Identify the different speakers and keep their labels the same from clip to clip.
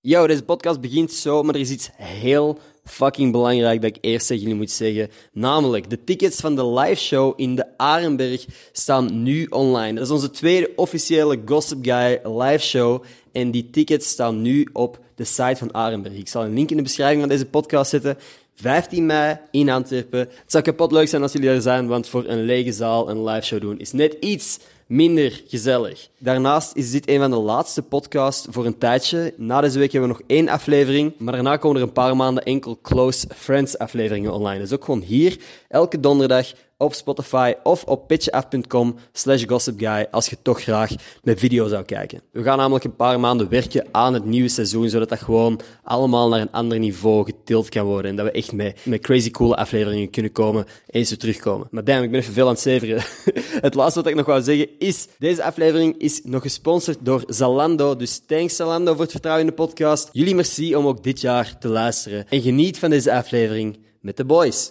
Speaker 1: Yo, deze podcast begint zo, maar er is iets heel fucking belangrijk dat ik eerst tegen jullie moet zeggen. Namelijk, de tickets van de live show in de Arenberg staan nu online. Dat is onze tweede officiële Gossip Guy live show. En die tickets staan nu op de site van Arenberg. Ik zal een link in de beschrijving van deze podcast zetten. 15 mei in Antwerpen. Het zou kapot leuk zijn als jullie er zijn, want voor een lege zaal een live show doen is net iets minder gezellig. Daarnaast is dit een van de laatste podcasts voor een tijdje. Na deze week hebben we nog één aflevering, maar daarna komen er een paar maanden enkel Close Friends afleveringen online. Dus ook gewoon hier, elke donderdag op Spotify of op pitchaf.com slash gossipguy als je toch graag mijn video zou kijken. We gaan namelijk een paar maanden werken aan het nieuwe seizoen, zodat dat gewoon allemaal naar een ander niveau getild kan worden. En dat we echt met, met crazy coole afleveringen kunnen komen eens we terugkomen. Maar damn, ik ben even veel aan het zeveren. het laatste wat ik nog wou zeggen is, deze aflevering is nog gesponsord door Zalando. Dus thanks Zalando voor het vertrouwen in de podcast. Jullie merci om ook dit jaar te luisteren. En geniet van deze aflevering met de boys.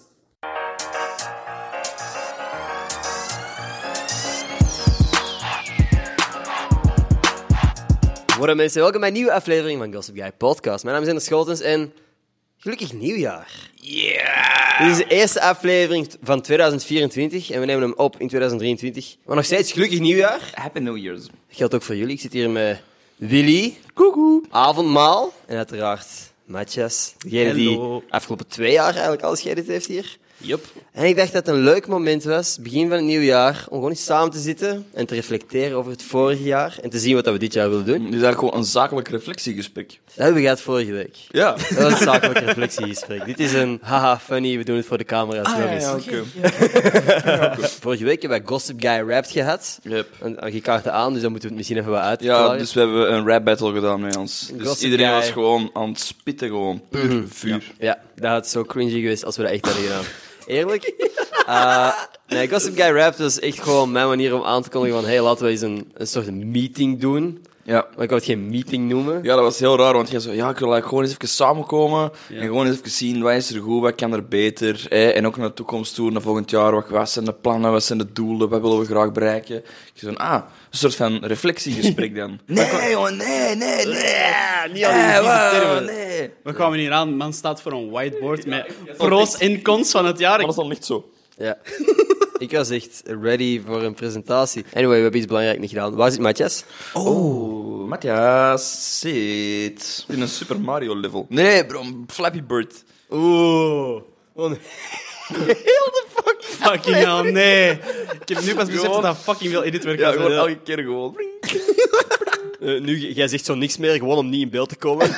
Speaker 1: Wat up mensen, welkom bij een nieuwe aflevering van Gossip Guy Podcast. Mijn naam is Ender Scholtens en gelukkig nieuwjaar.
Speaker 2: Yeah!
Speaker 1: Dit is de eerste aflevering t- van 2024 en we nemen hem op in 2023. Maar nog steeds gelukkig nieuwjaar.
Speaker 2: Happy New Year's.
Speaker 1: Dat geldt ook voor jullie. Ik zit hier met Willy,
Speaker 2: Koekoe.
Speaker 1: avondmaal en uiteraard Matthias. Degene
Speaker 2: Hello.
Speaker 1: die afgelopen twee jaar eigenlijk alles geëdit heeft hier.
Speaker 2: Yup.
Speaker 1: En ik dacht dat het een leuk moment was, begin van het nieuwe jaar, om gewoon eens samen te zitten en te reflecteren over het vorige jaar en te zien wat we dit jaar willen doen.
Speaker 2: Dit is eigenlijk gewoon een zakelijk reflectiegesprek.
Speaker 1: Dat hebben we gehad vorige week.
Speaker 2: Ja.
Speaker 1: Dat was een zakelijk reflectiegesprek. Dit is een haha funny, we doen het voor de camera's
Speaker 2: Ah,
Speaker 1: nog eens.
Speaker 2: dus
Speaker 1: Vorige week hebben we Gossip Guy Wrapped gehad.
Speaker 2: Yep.
Speaker 1: En, en je kaartte aan, dus dan moeten we het misschien even wat
Speaker 2: Ja,
Speaker 1: uitklaren.
Speaker 2: dus we hebben een rap battle gedaan met ons. Dus
Speaker 1: Gossip
Speaker 2: iedereen
Speaker 1: guy.
Speaker 2: was gewoon aan het spitten, gewoon puur vuur.
Speaker 1: Ja, dat had zo cringy geweest als we dat echt hadden gedaan. Eerlijk? Eh, nee, Gossip Guy Wrapped was echt gewoon mijn manier om aan te kondigen van hey, laten we eens een, een soort meeting doen.
Speaker 2: Ja.
Speaker 1: Maar ik wou het geen meeting noemen.
Speaker 2: Ja, dat was heel raar, want jij zei, ja, ik wil eigenlijk gewoon eens even samenkomen en gewoon eens even zien, wat is er goed, wat kan er beter, hè? en ook naar de toekomst toe, naar volgend jaar, wat, wat zijn de plannen, wat zijn de doelen, wat willen we graag bereiken. Ik zei, ah, een soort van reflectiegesprek dan. nee, jongen, nee, nee, nee,
Speaker 1: niet al die vieze termen.
Speaker 2: eh, nee.
Speaker 3: We kwamen hier aan, man staat voor een whiteboard met pro's en cons van het jaar.
Speaker 2: Maar dat is dan licht zo.
Speaker 1: Ja. ik was echt ready voor een presentatie. Anyway, we hebben iets belangrijks niet gedaan. Waar zit Matthias?
Speaker 2: Oh. Oeh, Matthias zit in een Super Mario level. Nee, bro, een Flappy Bird.
Speaker 3: Oeh,
Speaker 1: Heel de fuck.
Speaker 3: fucking hell, nee. Ik heb nu pas beseft
Speaker 2: Gewoon-
Speaker 3: dat fucking veel editwerk
Speaker 2: Ja,
Speaker 3: was.
Speaker 2: gewoon elke keer gewoon.
Speaker 1: Eh, nu, jij zegt zo niks meer, gewoon om niet in beeld te komen.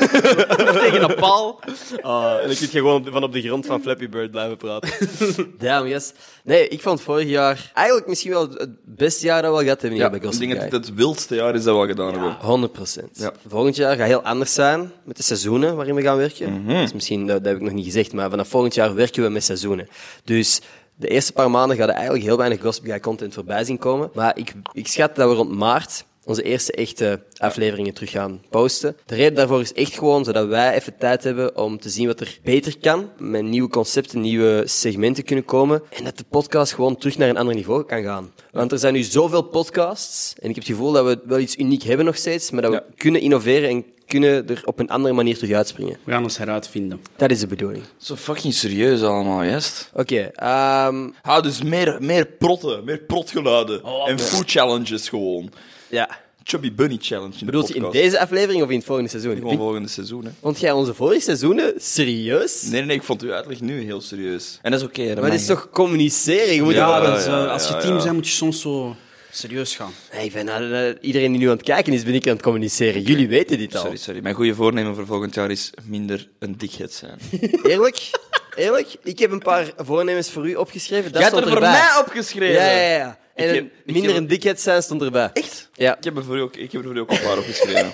Speaker 3: tegen een paal.
Speaker 1: Ah, en dan kun je gewoon op- van op de grond van Flappy Bird blijven praten. Damn, yes. Nee, ik vond vorig jaar eigenlijk misschien wel het beste jaar dat we al gehad hebben
Speaker 2: Ja,
Speaker 1: hier bij
Speaker 2: ik
Speaker 1: Gossip
Speaker 2: denk dat
Speaker 1: Guy.
Speaker 2: dit het wildste jaar is dat we al gedaan hebben.
Speaker 1: 100%.
Speaker 2: Ja.
Speaker 1: Volgend jaar gaat heel anders zijn met de seizoenen waarin we gaan werken.
Speaker 2: Mhm.
Speaker 1: Dus misschien, dat, dat heb ik nog niet gezegd, maar vanaf volgend jaar werken we met seizoenen. Dus de eerste paar maanden gaat er eigenlijk heel weinig Gossip Guy content voorbij zien komen. Maar ik, ik schat dat we rond maart onze eerste echte afleveringen terug gaan posten. De reden daarvoor is echt gewoon zodat wij even tijd hebben om te zien wat er beter kan. Met nieuwe concepten, nieuwe segmenten kunnen komen. En dat de podcast gewoon terug naar een ander niveau kan gaan. Want er zijn nu zoveel podcasts. En ik heb het gevoel dat we wel iets uniek hebben nog steeds. Maar dat we
Speaker 2: Ja.
Speaker 1: kunnen innoveren en kunnen er op een andere manier terug uitspringen.
Speaker 3: We gaan ons heruitvinden.
Speaker 1: Dat is de bedoeling.
Speaker 2: Zo fucking serieus allemaal, juist.
Speaker 1: Oké, ehm,
Speaker 2: Hou dus meer, meer protten, meer protgeluiden. en food challenges gewoon.
Speaker 1: ja.
Speaker 2: Chubby Bunny Challenge. In
Speaker 1: Bedoelt
Speaker 2: de
Speaker 1: je in
Speaker 2: podcast.
Speaker 1: deze aflevering of in het volgende seizoen?
Speaker 2: Gewoon
Speaker 1: Wie-
Speaker 2: volgende seizoen, hè.
Speaker 1: Vond jij onze vorige seizoenen serieus?
Speaker 2: Nee, nee, ik vond uw uitleg nu heel serieus. En dat is oké, dat
Speaker 1: Maar
Speaker 2: mag,
Speaker 1: het is
Speaker 2: hè.
Speaker 1: toch communiceren? Je moet
Speaker 2: Ja,
Speaker 1: wel-
Speaker 2: dat is, eh, ja,
Speaker 3: als je
Speaker 2: ja,
Speaker 3: team
Speaker 2: ja.
Speaker 3: bent, moet je soms zo serieus gaan.
Speaker 1: Nee, ik ben aan- eh, iedereen die nu aan het kijken is, ben ik aan het communiceren. Jullie weten dit al.
Speaker 2: Sorry, sorry. Mijn goede voornemen voor volgend jaar is minder een dikheid zijn.
Speaker 1: Eerlijk? Eerlijk? Ik heb een paar voornemens voor u opgeschreven. Dat
Speaker 2: Jij hebt
Speaker 1: stond
Speaker 2: er voor
Speaker 1: erbij.
Speaker 2: mij opgeschreven.
Speaker 1: Ja, ja, ja. En
Speaker 2: Ik heb-
Speaker 1: een
Speaker 2: ik
Speaker 1: minder
Speaker 2: heb-
Speaker 1: een dikheid zijn stond erbij.
Speaker 2: Echt?
Speaker 1: Ja.
Speaker 2: Ik heb er voor u ook, ik heb er voor u ook een paar opgeschreven.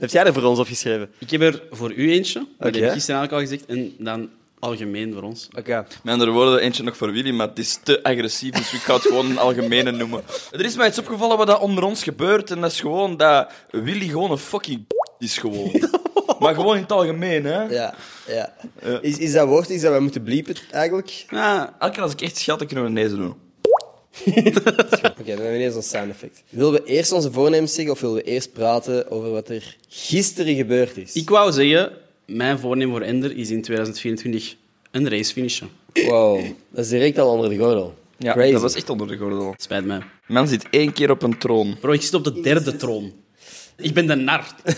Speaker 1: Heb jij er voor ons opgeschreven?
Speaker 3: Ik heb er voor u eentje, maar dat heb
Speaker 1: Oké.
Speaker 3: ik gisteren eigenlijk al gezegd, en dan algemeen voor ons.
Speaker 1: Oké.
Speaker 2: Met andere woorden, eentje nog voor Willy, maar het is te agressief, dus ik ga het gewoon een algemene noemen. Er is mij iets opgevallen wat dat onder ons gebeurt, en dat is gewoon dat Willy gewoon een fucking is gewoon. Maar gewoon in het algemeen, hè.
Speaker 1: Ja, ja. Is, is dat woord iets dat wij moeten bliepen, eigenlijk?
Speaker 3: Ja,
Speaker 2: Ah. Elke keer als ik echt schat, dan kunnen we een nee doen.
Speaker 1: Oké, dan hebben we ineens ons sound effect. Willen we eerst onze voornemens zeggen of willen we eerst praten over wat er gisteren gebeurd is?
Speaker 3: Ik wou zeggen, mijn voornemen voor Ender is in 2024 een race finishen.
Speaker 1: Wow, dat is direct al onder de gordel.
Speaker 2: Ja,
Speaker 1: Crazy.
Speaker 2: dat was echt onder de gordel.
Speaker 3: Spijt mij.
Speaker 2: Man zit één keer op een troon.
Speaker 3: Bro, ik zit op de derde troon. Ik ben de nar.
Speaker 2: Die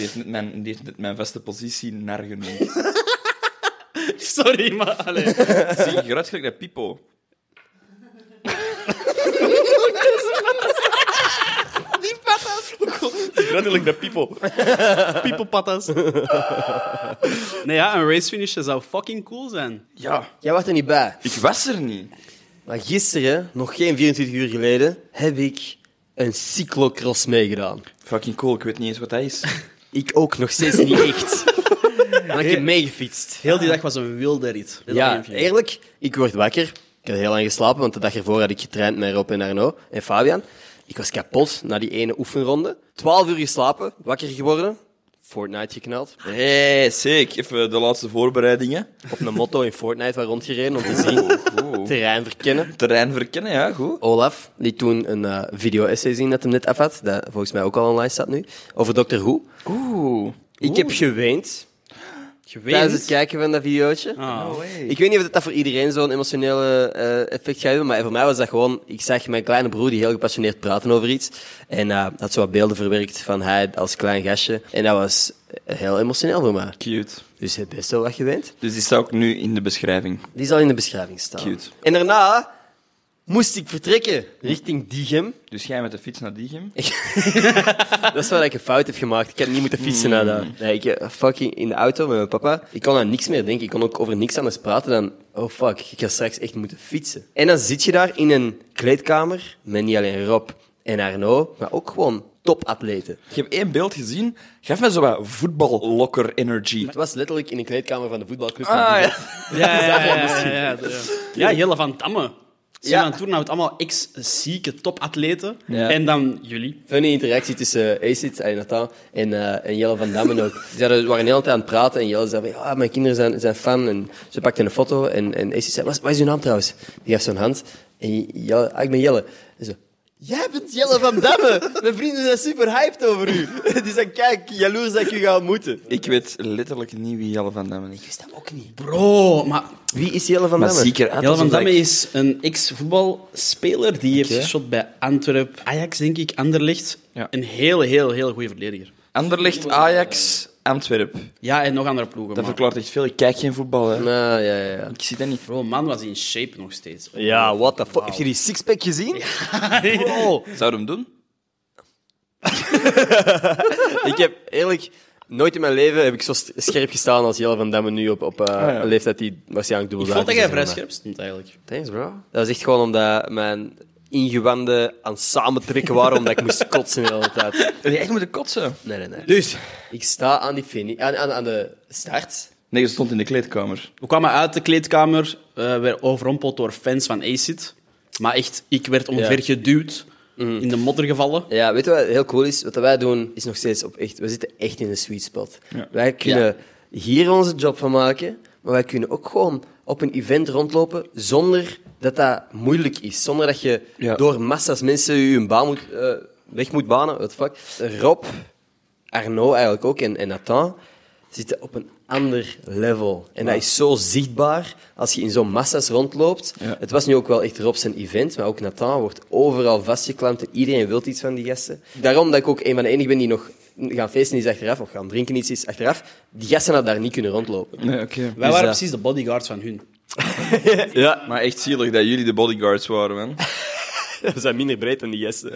Speaker 2: heeft net mijn, die heeft net mijn vaste positie naar genoemd.
Speaker 3: Sorry, maar... Allee.
Speaker 2: Zie je eruit gelijk naar Pipo? Die patas! Gelijk naar Pipo.
Speaker 3: People patas. nee ja, een race finishen zou fucking cool zijn.
Speaker 2: Ja,
Speaker 1: Jij was er niet bij.
Speaker 2: ik was er niet.
Speaker 1: Maar gisteren, nog geen 24 uur geleden, heb ik een cyclocross meegedaan.
Speaker 2: Fucking cool, ik weet niet eens wat dat is.
Speaker 1: Ik ook nog steeds niet echt. Maar ik heb meegefietst.
Speaker 3: Heel die dag was een wilde rit. Dat
Speaker 1: Ja,
Speaker 3: heb ik.
Speaker 1: eerlijk, ik word wakker. Ik had heel lang geslapen, want de dag ervoor had ik getraind met Rob en Arno en Fabian. Ik was kapot na die ene oefenronde. 12 uur geslapen, wakker geworden, Fortnite geknald.
Speaker 2: Hey, sick. Even de laatste voorbereidingen.
Speaker 1: Op een motto in Fortnite waar rondgereden om te zien,
Speaker 2: Oeh.
Speaker 1: terrein verkennen.
Speaker 2: Terrein verkennen, ja, goed.
Speaker 1: Olaf liet toen een eh, video-essay zien dat hem net af had, dat volgens mij ook al online staat nu, over Doctor Who.
Speaker 2: Oeh.
Speaker 1: Ik heb geweend tijdens het kijken van dat videootje.
Speaker 2: Oh,
Speaker 3: Ah.
Speaker 1: Ik weet niet of dat voor iedereen zo'n emotionele eh, effect gaat hebben, maar voor mij was dat gewoon... Ik zag mijn kleine broer die heel gepassioneerd praten over iets. En eh, had zo wat beelden verwerkt van hij als klein gastje. En dat was heel emotioneel voor mij.
Speaker 2: Cute.
Speaker 1: Dus je hebt best wel wat gewend.
Speaker 2: Dus die staat ook nu in de beschrijving.
Speaker 1: Die zal in de beschrijving staan.
Speaker 2: Cute.
Speaker 1: En daarna moest ik vertrekken richting Diegem.
Speaker 2: Dus jij met de fiets naar Diegem?
Speaker 1: Dat is waar ik een fout heb gemaakt. Ik heb niet moeten fietsen naar dat. Nee, ik eh, fucking in de auto met mijn papa. Ik kon aan niks meer denken. Ik kon ook over niks anders praten dan... Oh fuck, ik ga straks echt moeten fietsen. En dan zit je daar in een kleedkamer met niet alleen Rob en Arno, maar ook gewoon topatleten.
Speaker 2: Ik heb één beeld gezien. Gaf mij zo wat voetballokker energy.
Speaker 1: Het was letterlijk in een kleedkamer van de voetbalclub. van
Speaker 2: Ah,
Speaker 1: Diegem.
Speaker 2: ja.
Speaker 3: Ja, ja, ja, ja, ja, ja. ja Jelle van Damme. Ze
Speaker 1: Ja.
Speaker 3: ja. toen houdt allemaal ex-zieke topatleten.
Speaker 2: Ja.
Speaker 3: En dan jullie.
Speaker 1: Funny interactie tussen Acid, en Nathan en, eh, en Jelle van Dammen ook. Ze hadden- waren de hele tijd aan het praten en Jelle zei van, ja, mijn kinderen zijn, zijn fan. En ze pakte een foto en, en Acid zei, wat, wat is uw naam trouwens? Die gaf zo'n hand en Jelle, ah, ik ben Jelle. En zo, jij bent Jelle van Damme. Mijn vrienden zijn super hyped over u. Die zijn, kijk, jaloers dat ik u ga ontmoeten.
Speaker 2: Ik weet letterlijk niet wie Jelle van Damme is.
Speaker 1: Ik wist dat ook niet.
Speaker 3: Bro, maar
Speaker 1: Wie is Jelle van
Speaker 2: Maar
Speaker 1: Damme?
Speaker 2: zeker uit
Speaker 3: Jelle van
Speaker 2: alsof
Speaker 3: Damme
Speaker 2: ik-
Speaker 3: is een ex-voetbalspeler. Die heeft
Speaker 1: Oké.
Speaker 3: geschot bij Antwerp, Ajax, denk ik, Anderlecht.
Speaker 2: Ja.
Speaker 3: Een heel, heel, heel goede verdediger.
Speaker 2: Anderlecht, Ajax, Antwerpen.
Speaker 3: Ja, en nog andere ploegen.
Speaker 2: Dat
Speaker 3: Maar...
Speaker 2: verklaart echt veel. Ik kijk geen voetbal, hè.
Speaker 1: Nou, ja, ja, ja.
Speaker 2: Ik zie dat niet.
Speaker 3: Bro, man was in shape nog steeds.
Speaker 1: Ja, what the fuck. Heb je die sixpack gezien? Bro.
Speaker 2: Zou je hem doen?
Speaker 1: Ik heb eerlijk nooit in mijn leven heb ik zo st- scherp gestaan als Jelle van Damme nu op, op eh,
Speaker 2: Ah, ja.
Speaker 1: een leeftijd die waarschijnlijk dubbel
Speaker 3: Ik vond dat jij vrij
Speaker 1: is,
Speaker 3: scherp stond, eigenlijk.
Speaker 1: maar- Thanks, bro. Dat was echt gewoon omdat mijn ingewanden aan het samentrekken waren omdat ik moest kotsen de hele tijd.
Speaker 2: Heb je echt moeten kotsen?
Speaker 1: Nee, nee, nee. Dus, ik sta aan, die fini- aan, aan, aan de start.
Speaker 2: Nee, ze stond in de kleedkamer.
Speaker 3: We kwamen uit de kleedkamer, eh weer overrompeld door fans van ACID. Maar echt, ik werd ongeveer
Speaker 1: Ja.
Speaker 3: geduwd, in de modder gevallen.
Speaker 1: Ja, weet je wat heel cool is? Wat wij doen is nog steeds op echt... We zitten echt in een sweet spot.
Speaker 2: Ja.
Speaker 1: Wij kunnen hier onze job van maken, maar wij kunnen ook gewoon op een event rondlopen zonder dat dat moeilijk is. Zonder dat je
Speaker 2: Ja.
Speaker 1: door massa's mensen je een baan moet, eh, weg moet banen. What the fuck? Rob, Arno eigenlijk ook en, en Nathan zitten op een ander level. En dat is zo zichtbaar als je in zo'n massa's rondloopt.
Speaker 2: Ja.
Speaker 1: Het was nu ook wel echt Rob zijn event, maar ook Nathan wordt overal vastgeklampt en iedereen wil iets van die gasten. Daarom dat ik ook een van de enigen ben die nog gaan feesten is achteraf, of gaan drinken iets is achteraf. Die gasten hadden daar niet kunnen rondlopen.
Speaker 2: Nee, oké.
Speaker 3: Wij waren
Speaker 1: dat-
Speaker 3: precies de bodyguards van hun.
Speaker 2: Ja. Maar echt zielig dat jullie de bodyguards waren, man.
Speaker 1: We zijn minder breed dan die gasten.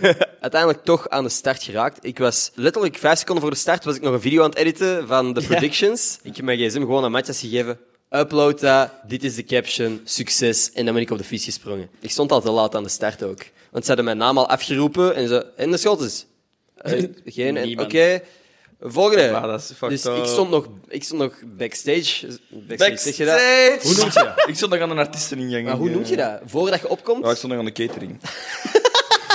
Speaker 1: Uiteindelijk toch aan de start geraakt. Ik was letterlijk vijf seconden voor de start was ik nog een video aan het editen van de predictions. Ik heb mijn gsm gewoon aan Matthias gegeven. Upload dat, dit is de caption, succes. En dan ben ik op de fiets gesprongen. Ik stond al te laat aan de start ook. Want ze hadden mijn naam al afgeroepen en ze... En de schot is... Eh, geen... en- Oké,
Speaker 3: Niemand.
Speaker 1: volgende.
Speaker 2: Ja, dat is fucked
Speaker 1: dus
Speaker 2: up.
Speaker 1: ik stond, nog, ik stond nog backstage. Backstage, zeg je dat?
Speaker 2: Backstage!
Speaker 1: Hoe noem je dat?
Speaker 2: Ik stond nog aan een artiesteningang.
Speaker 1: Maar hoe noem je dat? Voordat je opkomt?
Speaker 2: Ja, ik stond nog aan de catering.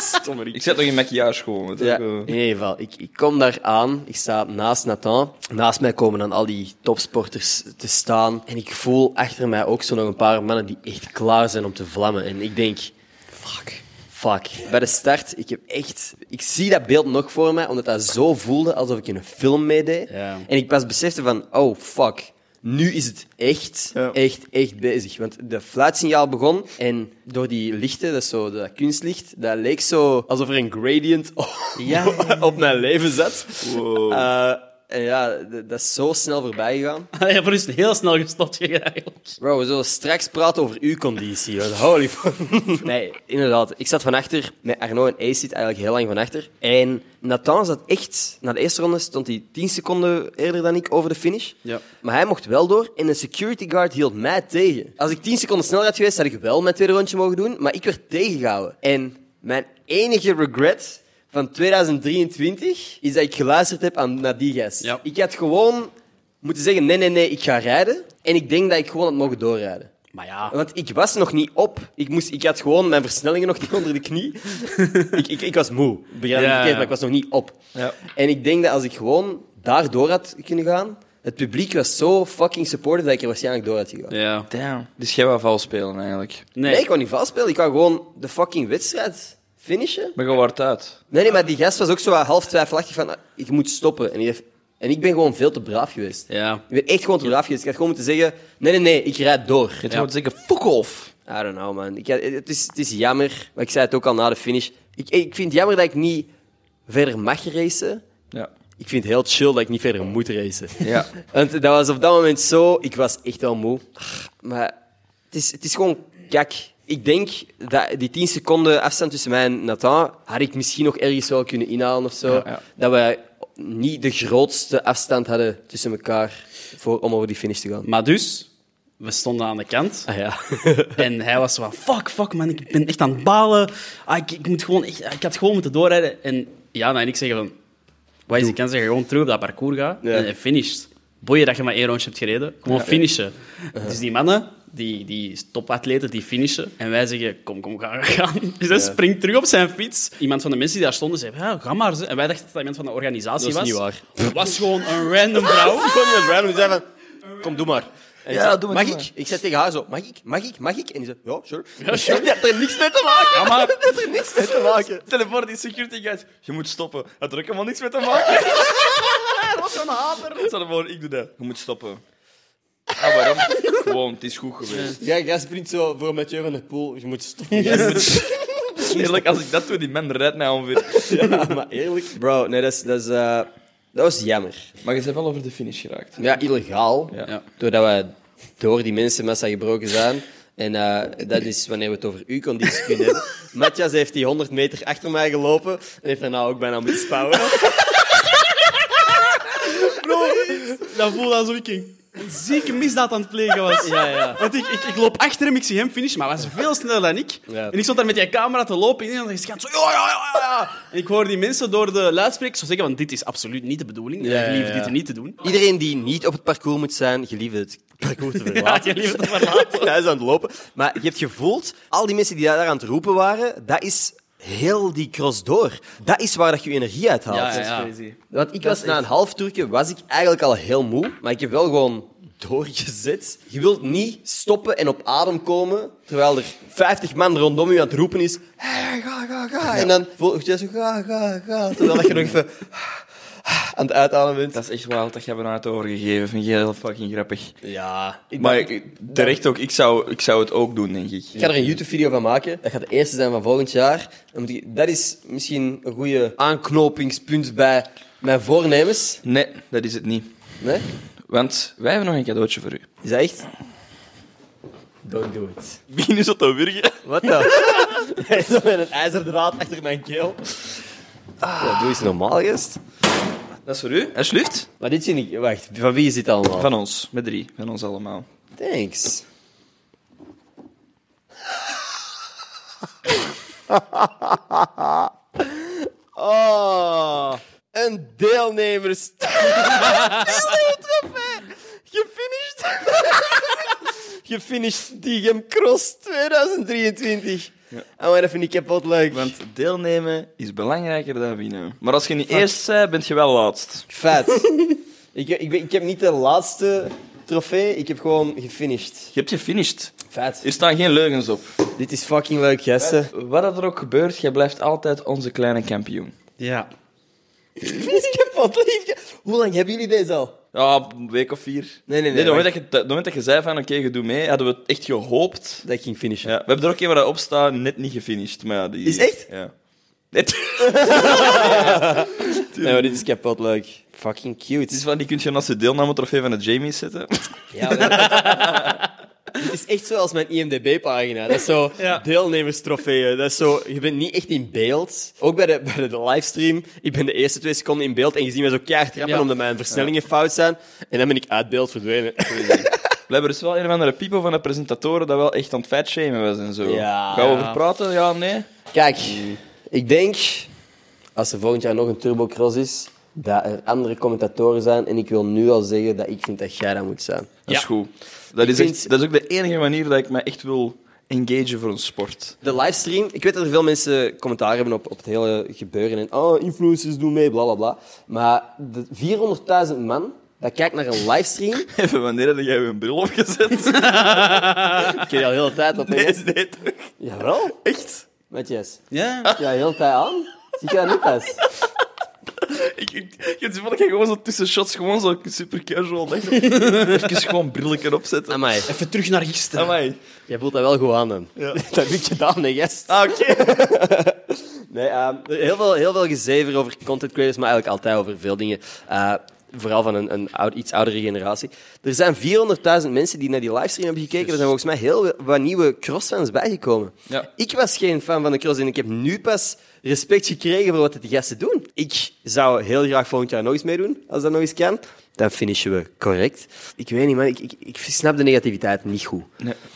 Speaker 2: Verdomme, ik zet nog in maquillage gewoon.
Speaker 1: Ja, in ieder geval, ik, ik kom daar aan. Ik sta naast Nathan. Naast mij komen dan al die topsporters te staan. En ik voel achter mij ook zo nog een paar mannen die echt klaar zijn om te vlammen. En ik denk, fuck. Fuck. Bij de start, ik heb echt... Ik zie dat beeld nog voor mij, omdat dat zo voelde alsof ik in een film meedeed.
Speaker 3: Ja.
Speaker 1: En ik pas besefte van, oh, fuck. Nu is het echt,
Speaker 2: Ja.
Speaker 1: echt, echt bezig. Want de fluitsignaal begon en door die lichten, dat is zo dat kunstlicht, dat leek zo alsof er een gradient op, op mijn leven zat. Eh, en ja, d- dat is zo snel voorbij gegaan.
Speaker 3: Ah, Ja, voor is het heel snel gestopt gegaan, eigenlijk.
Speaker 1: Bro, we zullen straks praten over uw conditie. want Holy fuck. Nee, inderdaad. Ik zat van achter met Arno en Ace zit eigenlijk heel lang van achter. En Nathan zat echt... Na de eerste ronde stond hij 10 seconden eerder dan ik over de finish.
Speaker 3: Ja.
Speaker 1: Maar hij mocht wel door en de security guard hield mij tegen. Als ik 10 seconden sneller had geweest, had ik wel mijn tweede rondje mogen doen. Maar ik werd tegengehouden. En mijn enige regret van 2023 is dat ik geluisterd heb aan, naar die gast.
Speaker 3: Ja.
Speaker 1: Ik had gewoon moeten zeggen, nee, nee, nee, ik ga rijden. En ik denk dat ik gewoon had mogen doorrijden.
Speaker 3: Maar ja.
Speaker 1: Want ik was nog niet op. Ik, moest, ik had gewoon mijn versnellingen nog niet onder de knie. ik, ik, ik was moe, begrijp me
Speaker 3: Ja.
Speaker 1: verkeerd, maar ik was nog niet op. En ik denk dat als ik gewoon daardoor had kunnen gaan... Het publiek was zo fucking supportive dat ik er waarschijnlijk door had gegaan.
Speaker 3: Ja.
Speaker 2: Damn. Dus jij wou vals spelen, eigenlijk.
Speaker 1: Nee, ik wou niet vastspelen. Ik wou gewoon de fucking wedstrijd finishen.
Speaker 2: Maar je wordt uit.
Speaker 1: Nee, nee, maar die gast was ook zo wat half twijfelachtig van... ah, Ik moet stoppen. En, die heeft- en ik ben gewoon veel te braaf geweest.
Speaker 3: Ja.
Speaker 1: Ik ben echt gewoon te braaf geweest. Ik had gewoon moeten zeggen... Nee, nee, nee, ik rijd door.
Speaker 2: Je moet zeggen, fuck off.
Speaker 1: I don't know, man. Ik, het, is, het is jammer. Maar ik zei het ook al na de finish. Ik, ik vind het jammer dat ik niet verder mag racen.
Speaker 2: Ja.
Speaker 1: Ik vind het heel chill dat ik niet verder moet racen.
Speaker 2: Ja.
Speaker 1: Want dat was op dat moment zo... Ik was echt wel moe. Ah, Maar het is, het is gewoon kak. Ik denk dat die 10 seconden afstand tussen mij en Nathan... had ik misschien nog ergens wel kunnen inhalen of zo.
Speaker 2: Ja, ja.
Speaker 1: Dat we niet de grootste afstand hadden tussen elkaar... Voor, om over die finish te gaan.
Speaker 3: Maar dus, we stonden aan de kant.
Speaker 1: Ah ja.
Speaker 3: En hij was zo van, fuck, fuck man, ik ben echt aan het balen. Ah, ik, ik, moet gewoon echt, ik had gewoon moeten doorrijden. En Jana en ik zeggen van, wat is de kans dat je gewoon terug op dat parcours gaat
Speaker 1: Ja.
Speaker 3: en, en finisht? Boeien dat je maar één rondje hebt gereden, gewoon finishen. Dus die mannen, die, die topatleten, die finishen. En wij zeggen, kom, kom, ga, ga, gaan. Dus hij springt terug op zijn fiets. Iemand van de mensen die daar stonden, zei, ja, ga maar. ze. En wij dachten dat dat iemand van de organisatie
Speaker 1: Dat is
Speaker 3: was.
Speaker 1: niet waar.
Speaker 3: Het was gewoon een random vrouw.
Speaker 1: Kom, doe maar. En
Speaker 2: Ja,
Speaker 1: ik zei,
Speaker 2: doe maar,
Speaker 1: Mag
Speaker 2: doe
Speaker 1: ik? Ik zei tegen haar zo, mag ik? Mag ik? Mag ik? En die zei, ja, sure. Ja, sure. Die had er niks mee te maken.
Speaker 3: Ja, maar-
Speaker 1: Die had er niks mee te maken.
Speaker 2: Stel je voor, die security guys. Je moet stoppen. Dat er ook helemaal niks mee te maken.
Speaker 3: was zo'n hater.
Speaker 2: Stel je voor, ik doe dat. Je moet stoppen. Ah, waarom? Gewoon, het is goed geweest.
Speaker 1: Ja, jij springt zo voor Mathieu van de Poel. Je moet stoppen.
Speaker 2: Eerlijk, als ik dat doe, die man rijdt mij ongeveer.
Speaker 1: Ja, maar eerlijk. Bro, nee, dat is... Dat, is, eh, dat was jammer.
Speaker 2: Maar je bent wel over de finish geraakt.
Speaker 1: Ja, illegaal.
Speaker 2: Ja.
Speaker 3: Ja.
Speaker 1: Doordat we door die mensenmassa gebroken zijn. En eh, dat is wanneer we het over uw conditie kunnen hebben. Matthias heeft die 100 meter achter mij gelopen. En heeft daarna ook bijna moeten spouwen.
Speaker 3: Dat voelde alsof ik een zieke misdaad aan het plegen was.
Speaker 1: Ja, ja.
Speaker 3: Want ik, ik, ik loop achter hem, ik zie hem finishen, maar hij was veel sneller dan ik.
Speaker 1: Ja.
Speaker 3: En ik stond daar met die camera te lopen in en dan gaat zo...
Speaker 2: Ah,
Speaker 3: Ja, ja, ja, ja. En ik hoor die mensen door de luidsprekers zo zeggen, want dit is absoluut niet de bedoeling.
Speaker 1: Ja, ja,
Speaker 3: Jullie hoeven
Speaker 1: ja.
Speaker 3: dit niet te doen.
Speaker 1: Iedereen die niet op het parcours moet zijn, gelieve het parcours te
Speaker 3: Ja,
Speaker 1: verlaten.
Speaker 3: je liever te verlaten.
Speaker 1: Hij is aan het lopen. Maar je hebt gevoeld, al die mensen die daar aan het roepen waren, dat is heel die cross door. Dat is waar dat je je energie uit haalt.
Speaker 3: Ja, ja.
Speaker 1: Want ik was na een half toertje was ik eigenlijk al heel moe, maar ik heb wel gewoon doorgezet. Je wilt niet stoppen en op adem komen, terwijl er 50 man rondom je aan het roepen is.
Speaker 2: Eh,
Speaker 1: "Hey, ga, ga, ga. En dan voel je zo ga, ga, ga. Terwijl dat je nog even aan het uitademen bent.
Speaker 2: Dat is echt wild dat jij me nou het overgegeven. Vind je heel fucking grappig.
Speaker 1: Ja, ik
Speaker 2: Maar ik- terecht ook, ik zou, ik zou het ook doen, denk ik.
Speaker 1: Ik ga er een YouTube-video van maken. Dat gaat de eerste zijn van volgend jaar. Dan moet ik- Dat is misschien een goede aanknopingspunt bij mijn voornemens.
Speaker 2: Nee, dat is het niet.
Speaker 1: Nee?
Speaker 2: Want wij hebben nog een cadeautje voor u.
Speaker 1: Is dat echt? Don't do it.
Speaker 2: Wie is dat te wurgen?
Speaker 1: Wat dan? Hij is zo met een ijzerdraad achter mijn keel. Ja, doe eens normaal, gast.
Speaker 2: Dat is voor u, alsjeblieft.
Speaker 1: Maar dit vind ik... Wacht, van wie is dit allemaal?
Speaker 2: Van ons, met drie. Van ons allemaal.
Speaker 1: Thanks. oh, een deelnemers. Sneeuwtrofee. Gefinished. Gefinished Digam Cross 2023. En maar dat vind ik kapot leuk.
Speaker 2: Want deelnemen is belangrijker dan winnen. Maar als je niet eerst bent, ben je wel laatst.
Speaker 1: Vet. ik, ik, ben- ik heb niet de laatste trofee, ik heb gewoon gefinished.
Speaker 2: Je hebt gefinished.
Speaker 1: Vet.
Speaker 2: Er staan geen leugens op.
Speaker 1: Dit is fucking leuk, gasten.
Speaker 2: Wat dat er ook gebeurt, jij blijft altijd onze kleine kampioen.
Speaker 3: Ja.
Speaker 1: Dit is kapot lief. Hoe lang hebben jullie deze al?
Speaker 2: Ja, een week of vier.
Speaker 1: Nee, nee, nee,
Speaker 2: nee het moment,
Speaker 1: maar-
Speaker 2: dat je, het moment dat je zei van, oké, je doet mee, hadden we het echt gehoopt.
Speaker 1: Dat ik ging finishen.
Speaker 2: Ja, we hebben er ook een waar dat op staat, net niet gefinished. Maar ja, die...
Speaker 1: Is echt?
Speaker 2: Ja. Net.
Speaker 1: Nee, maar dit is kapot leuk. Fucking cute.
Speaker 2: Het is van, die kun je naast de deelnametrofee van de Jamie zetten.
Speaker 1: Ja, maar- Dit is echt zoals mijn IMDb-pagina. Dat is zo deelnemerstrofeeën. Dat is zo, je bent niet echt in beeld. Ook bij de, bij de- de livestream. Ik ben de eerste twee seconden in beeld en je ziet mij zo keihard trappen
Speaker 3: Ja.
Speaker 1: omdat mijn versnellingen fout zijn. En dan ben ik uit beeld verdwenen.
Speaker 2: We hebben dus wel een of andere people van de presentatoren dat wel echt aan het fatshamen was en zo.
Speaker 1: Ja.
Speaker 2: Gaan we over praten? Ja, nee?
Speaker 1: Kijk, ik denk, als er volgend jaar nog een turbocross is, dat er andere commentatoren zijn. En ik wil nu al zeggen dat ik vind dat jij dat moet zijn.
Speaker 2: Dat is
Speaker 3: Ja.
Speaker 2: goed. Dat is,
Speaker 1: vind-
Speaker 2: echt, dat is ook de enige manier dat ik me echt wil engagen voor een sport.
Speaker 1: De livestream, ik weet dat er veel mensen commentaar hebben op, op het hele gebeuren. En oh, influencers doen mee, bla bla bla. Maar de 400.000 man dat kijkt naar een livestream.
Speaker 2: Even wanneer heb jij een bril opgezet?
Speaker 1: ik heb je al heel de tijd op.
Speaker 2: Nee,
Speaker 1: Nee.
Speaker 2: nee, toch?
Speaker 1: Jawel,
Speaker 2: Echt?
Speaker 1: Matthias.
Speaker 3: Ja.
Speaker 1: Ja, heel de tijd aan. Zie je dat niet pas?
Speaker 2: Ik, ik, ik heb het gevoel dat jij gewoon zo tussen shots gewoon zo super casual dacht. Even gewoon brilletje opzetten.
Speaker 1: Amai.
Speaker 3: Even terug naar gisteren.
Speaker 2: Amai.
Speaker 1: Jij voelt dat wel goed aan dan.
Speaker 2: Ja.
Speaker 1: Dat heb ik gedaan, nee, gast.
Speaker 2: Ah, oké.
Speaker 1: Nee, ehm, heel, veel, heel veel gezever over content creators, maar eigenlijk altijd over veel dingen. Eh, vooral van een, een oud- iets oudere generatie. Er zijn 400.000 mensen die naar die livestream hebben gekeken. Er zijn volgens mij heel wat nieuwe crossfans bijgekomen.
Speaker 2: Ja.
Speaker 1: Ik was geen fan van de cross en ik heb nu pas respect gekregen voor wat die gasten doen. Ik zou heel graag volgend jaar nog eens meedoen, als dat nog eens kan. Dan finishen we correct. Ik weet niet, man. Ik, ik, ik snap de negativiteit niet goed.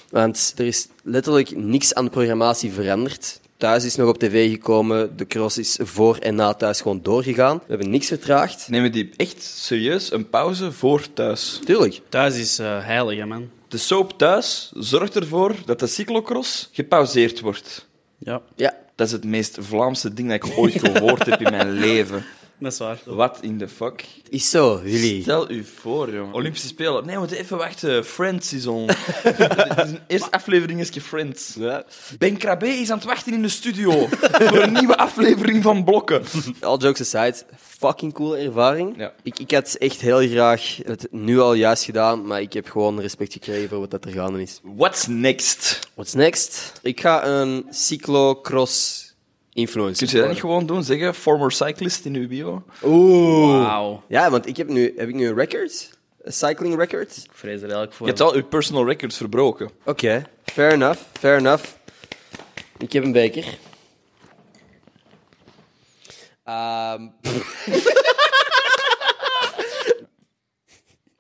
Speaker 1: Want er is letterlijk niks aan de programmatie veranderd. Thuis is nog op tv gekomen. De cross is voor en na thuis gewoon doorgegaan. We hebben niks vertraagd.
Speaker 2: Nemen die echt serieus een pauze voor thuis.
Speaker 1: Tuurlijk.
Speaker 3: Thuis is eh, heilig, hè, man.
Speaker 2: De soap thuis zorgt ervoor dat de cyclocross gepauzeerd wordt.
Speaker 3: Ja,
Speaker 1: Ja.
Speaker 2: Dat is het meest Vlaamse ding dat ik ooit gehoord heb in mijn leven.
Speaker 3: dat is waar.
Speaker 2: Wat in de fuck?
Speaker 1: Is zo, jullie.
Speaker 2: Stel u voor, jongen. Olympische Spelen. Nee, we moeten even wachten. Friends is on. Het is een Eerste aflevering is Friends. Ben Krabbe is aan het wachten in de studio voor een nieuwe aflevering van Blokken.
Speaker 1: All jokes aside, fucking coole ervaring.
Speaker 2: Ja.
Speaker 1: Ik, ik had echt heel graag het nu al juist gedaan, maar ik heb gewoon respect gekregen voor wat dat er gaande is.
Speaker 2: What's next?
Speaker 1: What's next? Ik ga een cyclocross influencer
Speaker 2: Kun je dat niet gewoon doen? Zeggen, former cyclist in uw bio?
Speaker 1: Oeh.
Speaker 3: Wauw.
Speaker 1: Ja, want ik heb nu, heb ik nu een record? Een cycling record?
Speaker 3: Ik vrees er eigenlijk voor.
Speaker 2: Je hebt al uw personal records verbroken.
Speaker 1: Oké, fair enough, fair enough. Ik heb een beker. Ehm, pff.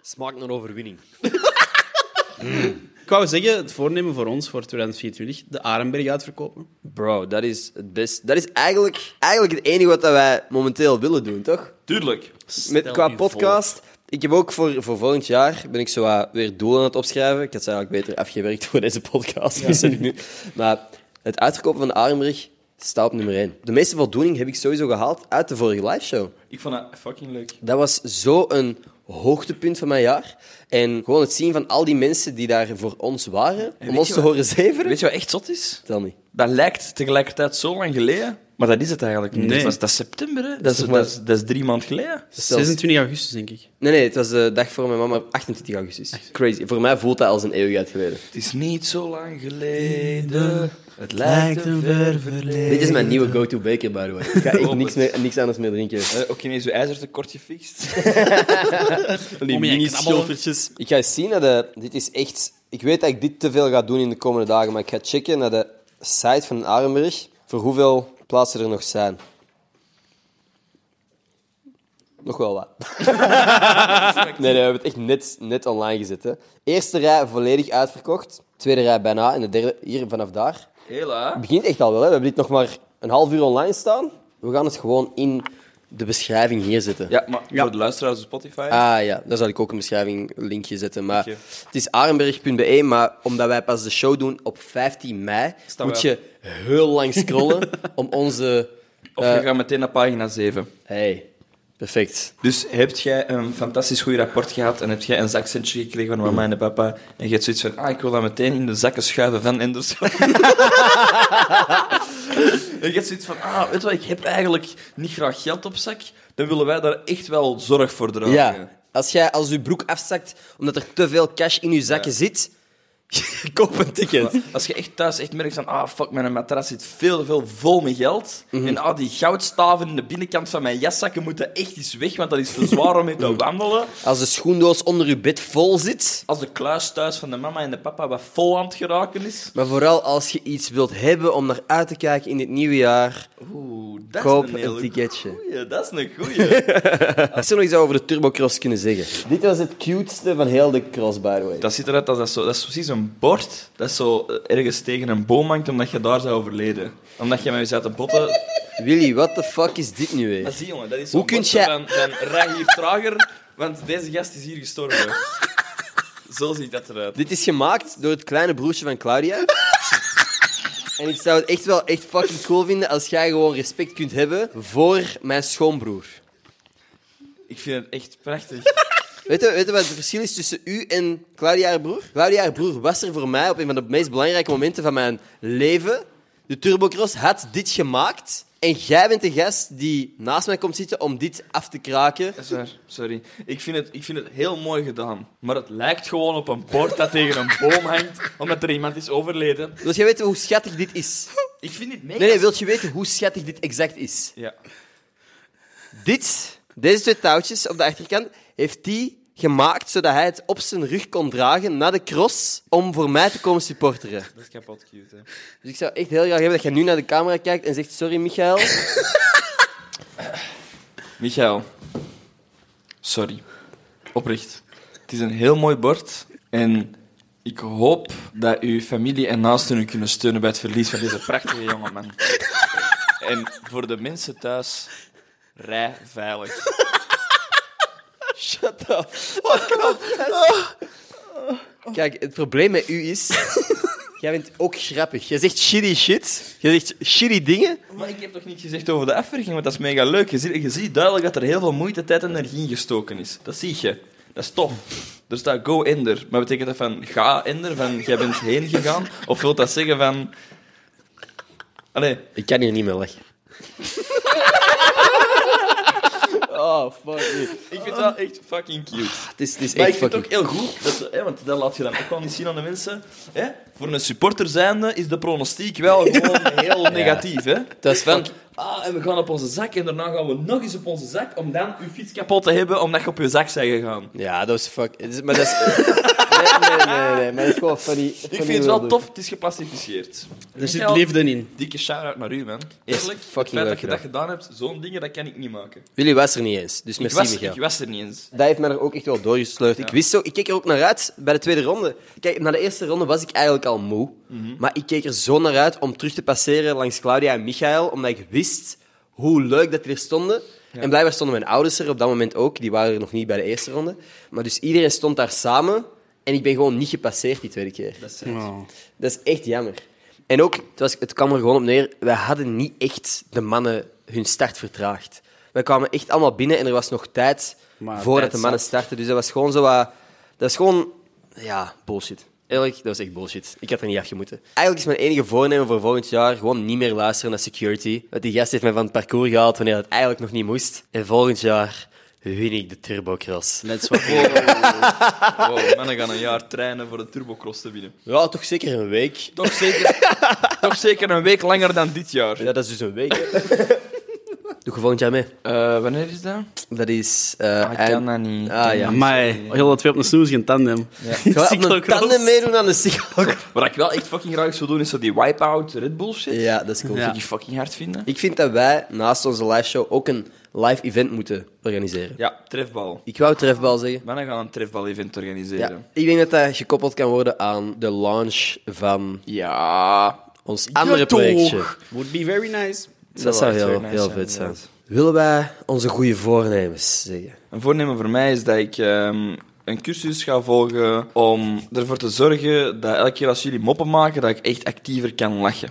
Speaker 1: Smaakt naar overwinning.
Speaker 3: Ik wou zeggen, het voornemen voor ons voor 2024, de Arenberg uitverkopen.
Speaker 1: Bro, dat is het best. Dat is eigenlijk, eigenlijk het enige wat dat wij momenteel willen doen, toch?
Speaker 2: Tuurlijk.
Speaker 1: Met,
Speaker 3: Stel
Speaker 1: qua
Speaker 3: u voor.
Speaker 1: podcast. Ik heb ook voor, voor volgend jaar ben ik zo wat weer doelen aan het opschrijven. Ik had ze eigenlijk beter afgewerkt voor deze podcast, besef ik nu. Maar het uitverkopen van de Armbrug staat op nummer 1. De meeste voldoening heb ik sowieso gehaald uit de vorige liveshow.
Speaker 2: Ik vond dat fucking leuk.
Speaker 1: Dat was zo'n hoogtepunt van mijn jaar. En gewoon het zien van al die mensen die daar voor ons waren, om
Speaker 2: je
Speaker 1: ons te
Speaker 2: wat-
Speaker 1: horen zeveren.
Speaker 2: Weet je wat echt zot is?
Speaker 1: Tel niet.
Speaker 2: Dat lijkt tegelijkertijd zo lang geleden, maar dat is het eigenlijk niet.
Speaker 3: Nee.
Speaker 2: Dat, is, dat is september, hè? Dat, is,
Speaker 1: toch
Speaker 2: dat,
Speaker 1: maar-
Speaker 2: is, dat is drie maanden geleden.
Speaker 3: 26 augustus, denk ik.
Speaker 1: Nee, nee, het was de dag voor mijn mama, 28 augustus. Crazy. Voor mij voelt dat als een eeuwigheid geleden.
Speaker 2: Het is niet zo lang geleden. Het lijkt een ver verleden.
Speaker 1: Dit is mijn nieuwe go-to beker, by the way. Ik ga echt
Speaker 2: Hoop
Speaker 1: niks,
Speaker 2: het.
Speaker 1: meer, niks anders meer drinken.
Speaker 2: Eh, Ook ineens uw ijzertekort gefixt.
Speaker 1: Die
Speaker 3: Om je
Speaker 1: mini-schilfertjes. Ik ga eens zien naar de... Dit is echt... Ik weet dat ik dit te veel ga doen in de komende dagen, maar ik ga checken naar de site van Arenberg voor hoeveel plaatsen er nog zijn. Nog wel wat. nee, nee, we hebben het echt net, net online gezet. Hè. Eerste rij volledig uitverkocht. Tweede rij bijna. En de derde hier vanaf daar.
Speaker 2: Hela.
Speaker 1: Het begint echt al wel. Hè. We hebben dit nog maar een half uur online staan. We gaan het gewoon in de beschrijving hier zetten.
Speaker 2: Ja, maar
Speaker 3: Ja.
Speaker 2: voor de luisteraars op Spotify.
Speaker 1: Ah ja, daar zal ik ook een beschrijving linkje zetten. Maar
Speaker 2: Oké.
Speaker 1: het is arenberg.be, E, maar omdat wij pas de show doen op 15 mei,
Speaker 2: Staan
Speaker 1: moet
Speaker 2: wij
Speaker 1: je heel lang scrollen om onze...
Speaker 2: of je gaat meteen naar pagina 7.
Speaker 1: Hey, perfect.
Speaker 2: Dus heb jij een fantastisch goed rapport gehad en heb jij een zakcentje gekregen van mama en papa en je hebt zoiets van, ah, ik wil dat meteen in de zakken schuiven van Anderson. en je hebt zoiets van, ah, weet je wat, ik heb eigenlijk niet graag geld op zak, dan willen wij daar echt wel zorg voor dragen.
Speaker 1: Ja, als jij als je broek afzakt omdat er te veel cash in je zakken zit, koop een ticket.
Speaker 2: Maar Als je echt thuis echt merkt van, ah, fuck, mijn matras zit veel te veel vol met geld
Speaker 1: Mhm.
Speaker 2: en ah, die goudstaven in de binnenkant van mijn jaszakken moeten echt eens weg, want dat is te zwaar om mee
Speaker 1: Mhm.
Speaker 2: te wandelen.
Speaker 1: Als de schoendoos onder je bed vol zit,
Speaker 2: Als de kluis thuis van de mama en de papa wat vol aan het geraken is,
Speaker 1: maar vooral als je iets wilt hebben om naar uit te kijken in het nieuwe jaar,
Speaker 2: Oeh, dat
Speaker 1: Koop
Speaker 2: is
Speaker 1: een
Speaker 2: een, hele
Speaker 1: ticketje.
Speaker 2: goeie, dat is een goeie.
Speaker 1: Als ze nog iets over de turbocross kunnen zeggen. Dit was het cuteste van heel de cross, by the way.
Speaker 2: dat ziet eruit als dat zo, dat is precies een bord dat zo eh, ergens tegen een boom hangt omdat je daar zou overleden. Omdat je met je zette botten.
Speaker 1: Willy, what the fuck is dit nu
Speaker 2: Maar
Speaker 1: weer?
Speaker 2: zie jongen, dat is
Speaker 1: Hoe
Speaker 2: zo'n
Speaker 1: kun
Speaker 2: bordje
Speaker 1: jij-
Speaker 2: van, van rij hier trager, want deze gast is hier gestorven. zo ziet dat eruit.
Speaker 1: Dit is gemaakt door het kleine broertje van Claudia. en ik zou het echt wel echt fucking cool vinden als jij gewoon respect kunt hebben voor mijn schoonbroer.
Speaker 2: Ik vind het echt prachtig.
Speaker 1: Weet je, weet je wat het verschil is tussen u en Claudia haar broer? Claudia haar broer was er voor mij op een van de meest belangrijke momenten van mijn leven. De Turbocross had dit gemaakt. En jij bent de gast die naast mij komt zitten om dit af te kraken.
Speaker 2: Dat is waar, sorry. Ik vind, het, ik vind het heel mooi gedaan, maar het lijkt gewoon op een bord dat tegen een boom hangt omdat er iemand is overleden.
Speaker 1: Wil jij weten hoe schattig dit is?
Speaker 2: Ik vind dit mega...
Speaker 1: Nee, nee, wil je weten hoe schattig dit exact is?
Speaker 2: Ja.
Speaker 1: Dit, deze twee touwtjes op de achterkant, heeft hij gemaakt zodat hij het op zijn rug kon dragen na de cross om voor mij te komen supporteren.
Speaker 2: Dat is kapot cute, hè.
Speaker 1: Dus ik zou echt heel graag hebben dat jij nu naar de camera kijkt en zegt: Sorry, Michael.
Speaker 2: Michael, sorry. Oprecht. Het is een heel mooi bord. En ik hoop dat uw familie en naasten u kunnen steunen bij het verlies van deze prachtige jongeman. En voor de mensen thuis, rij veilig.
Speaker 1: Shut the fuck up. Kijk, het probleem met u is. Jij bent ook grappig. Jij zegt shitty shit. Jij zegt shitty dingen.
Speaker 2: Maar ik heb toch niet gezegd over de afwerking, want dat is mega leuk. Je ziet, je ziet duidelijk dat er heel veel moeite, tijd en energie in gestoken is. Dat zie je. Dat is tof. Er staat go ender. Maar betekent dat van ga ender, van jij bent heen gegaan? Of wil dat zeggen van... Allee,
Speaker 1: Ik kan hier niet meer lachen. Oh, fuck you.
Speaker 2: Ik vind het wel echt fucking cute.
Speaker 1: Het is, het is
Speaker 2: Maar
Speaker 1: echt
Speaker 2: ik vind het
Speaker 1: fucking...
Speaker 2: ook heel goed, dat, ze- hè, want dat laat je dan ook wel niet zien aan de mensen. Hè? Voor een supporter zijnde is de pronostiek wel gewoon heel negatief. Hè?
Speaker 1: Dat is
Speaker 2: Van,
Speaker 1: fuck-
Speaker 2: ah, en we gaan op onze zak en daarna gaan we nog eens op onze zak om dan uw fiets kapot te hebben omdat je op je zak bent gegaan.
Speaker 1: Ja, dat is fuck. het is- Maar dat is. Nee, nee, nee, nee, maar dat is gewoon funny.
Speaker 2: Ik vind het wel tof, het is geplastificeerd.
Speaker 3: Er zit
Speaker 2: Michael,
Speaker 3: liefde in.
Speaker 2: Dikke shout-out naar u, man.
Speaker 1: Yes, fucking
Speaker 2: Eerlijk, het feit
Speaker 1: leuk
Speaker 2: dat je dat gedaan hebt, zo'n dingen, dat kan ik niet maken.
Speaker 1: Willy was er niet eens, dus
Speaker 2: Ik
Speaker 1: merci
Speaker 2: was,
Speaker 1: Michael.
Speaker 2: ik was er niet eens.
Speaker 1: Dat heeft mij er ook echt wel doorgesleurd. Ik wist zo, ik keek er ook naar uit bij de tweede ronde. Kijk, na de eerste ronde was ik eigenlijk al moe.
Speaker 2: Mhm.
Speaker 1: Maar ik keek er zo naar uit om terug te passeren langs Claudia en Michael, omdat ik wist hoe leuk dat die er stonden. En blijkbaar stonden mijn ouders er op dat moment ook. Die waren er nog niet bij de eerste ronde. Maar dus iedereen stond daar samen. En ik ben gewoon niet gepasseerd die tweede keer.
Speaker 2: Dat is het.
Speaker 3: Oh.
Speaker 1: Dat is echt jammer. En ook, het, was, het kwam er gewoon op neer, wij hadden niet echt de mannen hun start vertraagd. Wij kwamen echt allemaal binnen en er was nog tijd
Speaker 3: Maar
Speaker 1: voordat
Speaker 3: tijd
Speaker 1: de mannen starten. Dus dat was gewoon zo wat... Dat is gewoon... Ja, bullshit. Eerlijk, dat was echt bullshit. Ik had er niet afgemoeten. Eigenlijk is mijn enige voornemen voor volgend jaar gewoon niet meer luisteren naar security. Want die gast heeft mij van het parcours gehaald wanneer het eigenlijk nog niet moest. En volgend jaar win ik de turbocross.
Speaker 3: Let's fucking
Speaker 2: Wow, mannen gaan een jaar trainen voor de turbocross te winnen.
Speaker 1: Ja, toch zeker een week.
Speaker 2: Toch zeker, toch zeker een week langer dan dit jaar.
Speaker 1: Ja, dat is dus een week. hè. Doe je volgend jaar mee.
Speaker 2: Eh, wanneer is dat?
Speaker 1: Dat is... eh,
Speaker 2: ik
Speaker 1: eind-
Speaker 2: kan dat niet.
Speaker 1: Ah ja.
Speaker 3: Amai, heel dat twee op een snoes, geen tandem.
Speaker 1: Ga op mijn
Speaker 3: Cyclocross.
Speaker 1: tanden meedoen aan de cyclocross.
Speaker 2: Wat ik wel echt fucking graag zou doen, is zo die wipe-out Red Bull shit.
Speaker 1: Ja, dat is cool.
Speaker 2: Dat
Speaker 3: Ja.
Speaker 2: zou ik fucking hard vinden.
Speaker 1: Ik vind dat wij naast onze live show ook een live event moeten organiseren.
Speaker 2: Ja, trefbal.
Speaker 1: Ik wou trefbal zeggen.
Speaker 2: Mannen gaan een trefbal-event
Speaker 1: Ja.
Speaker 2: organiseren.
Speaker 1: Ik denk dat dat gekoppeld kan worden aan de launch van
Speaker 2: Ja.
Speaker 1: ons andere
Speaker 2: toch.
Speaker 1: projectje.
Speaker 3: Would be very nice.
Speaker 1: Dat zou
Speaker 2: echt
Speaker 1: heel,
Speaker 2: nice
Speaker 1: heel
Speaker 2: zijn,
Speaker 1: vet zijn.
Speaker 2: inderdaad.
Speaker 1: Willen wij onze goede voornemens zeggen?
Speaker 2: Een voornemen voor mij is dat ik ehm, een cursus ga volgen om ervoor te zorgen dat elke keer als jullie moppen maken, dat ik echt actiever kan lachen.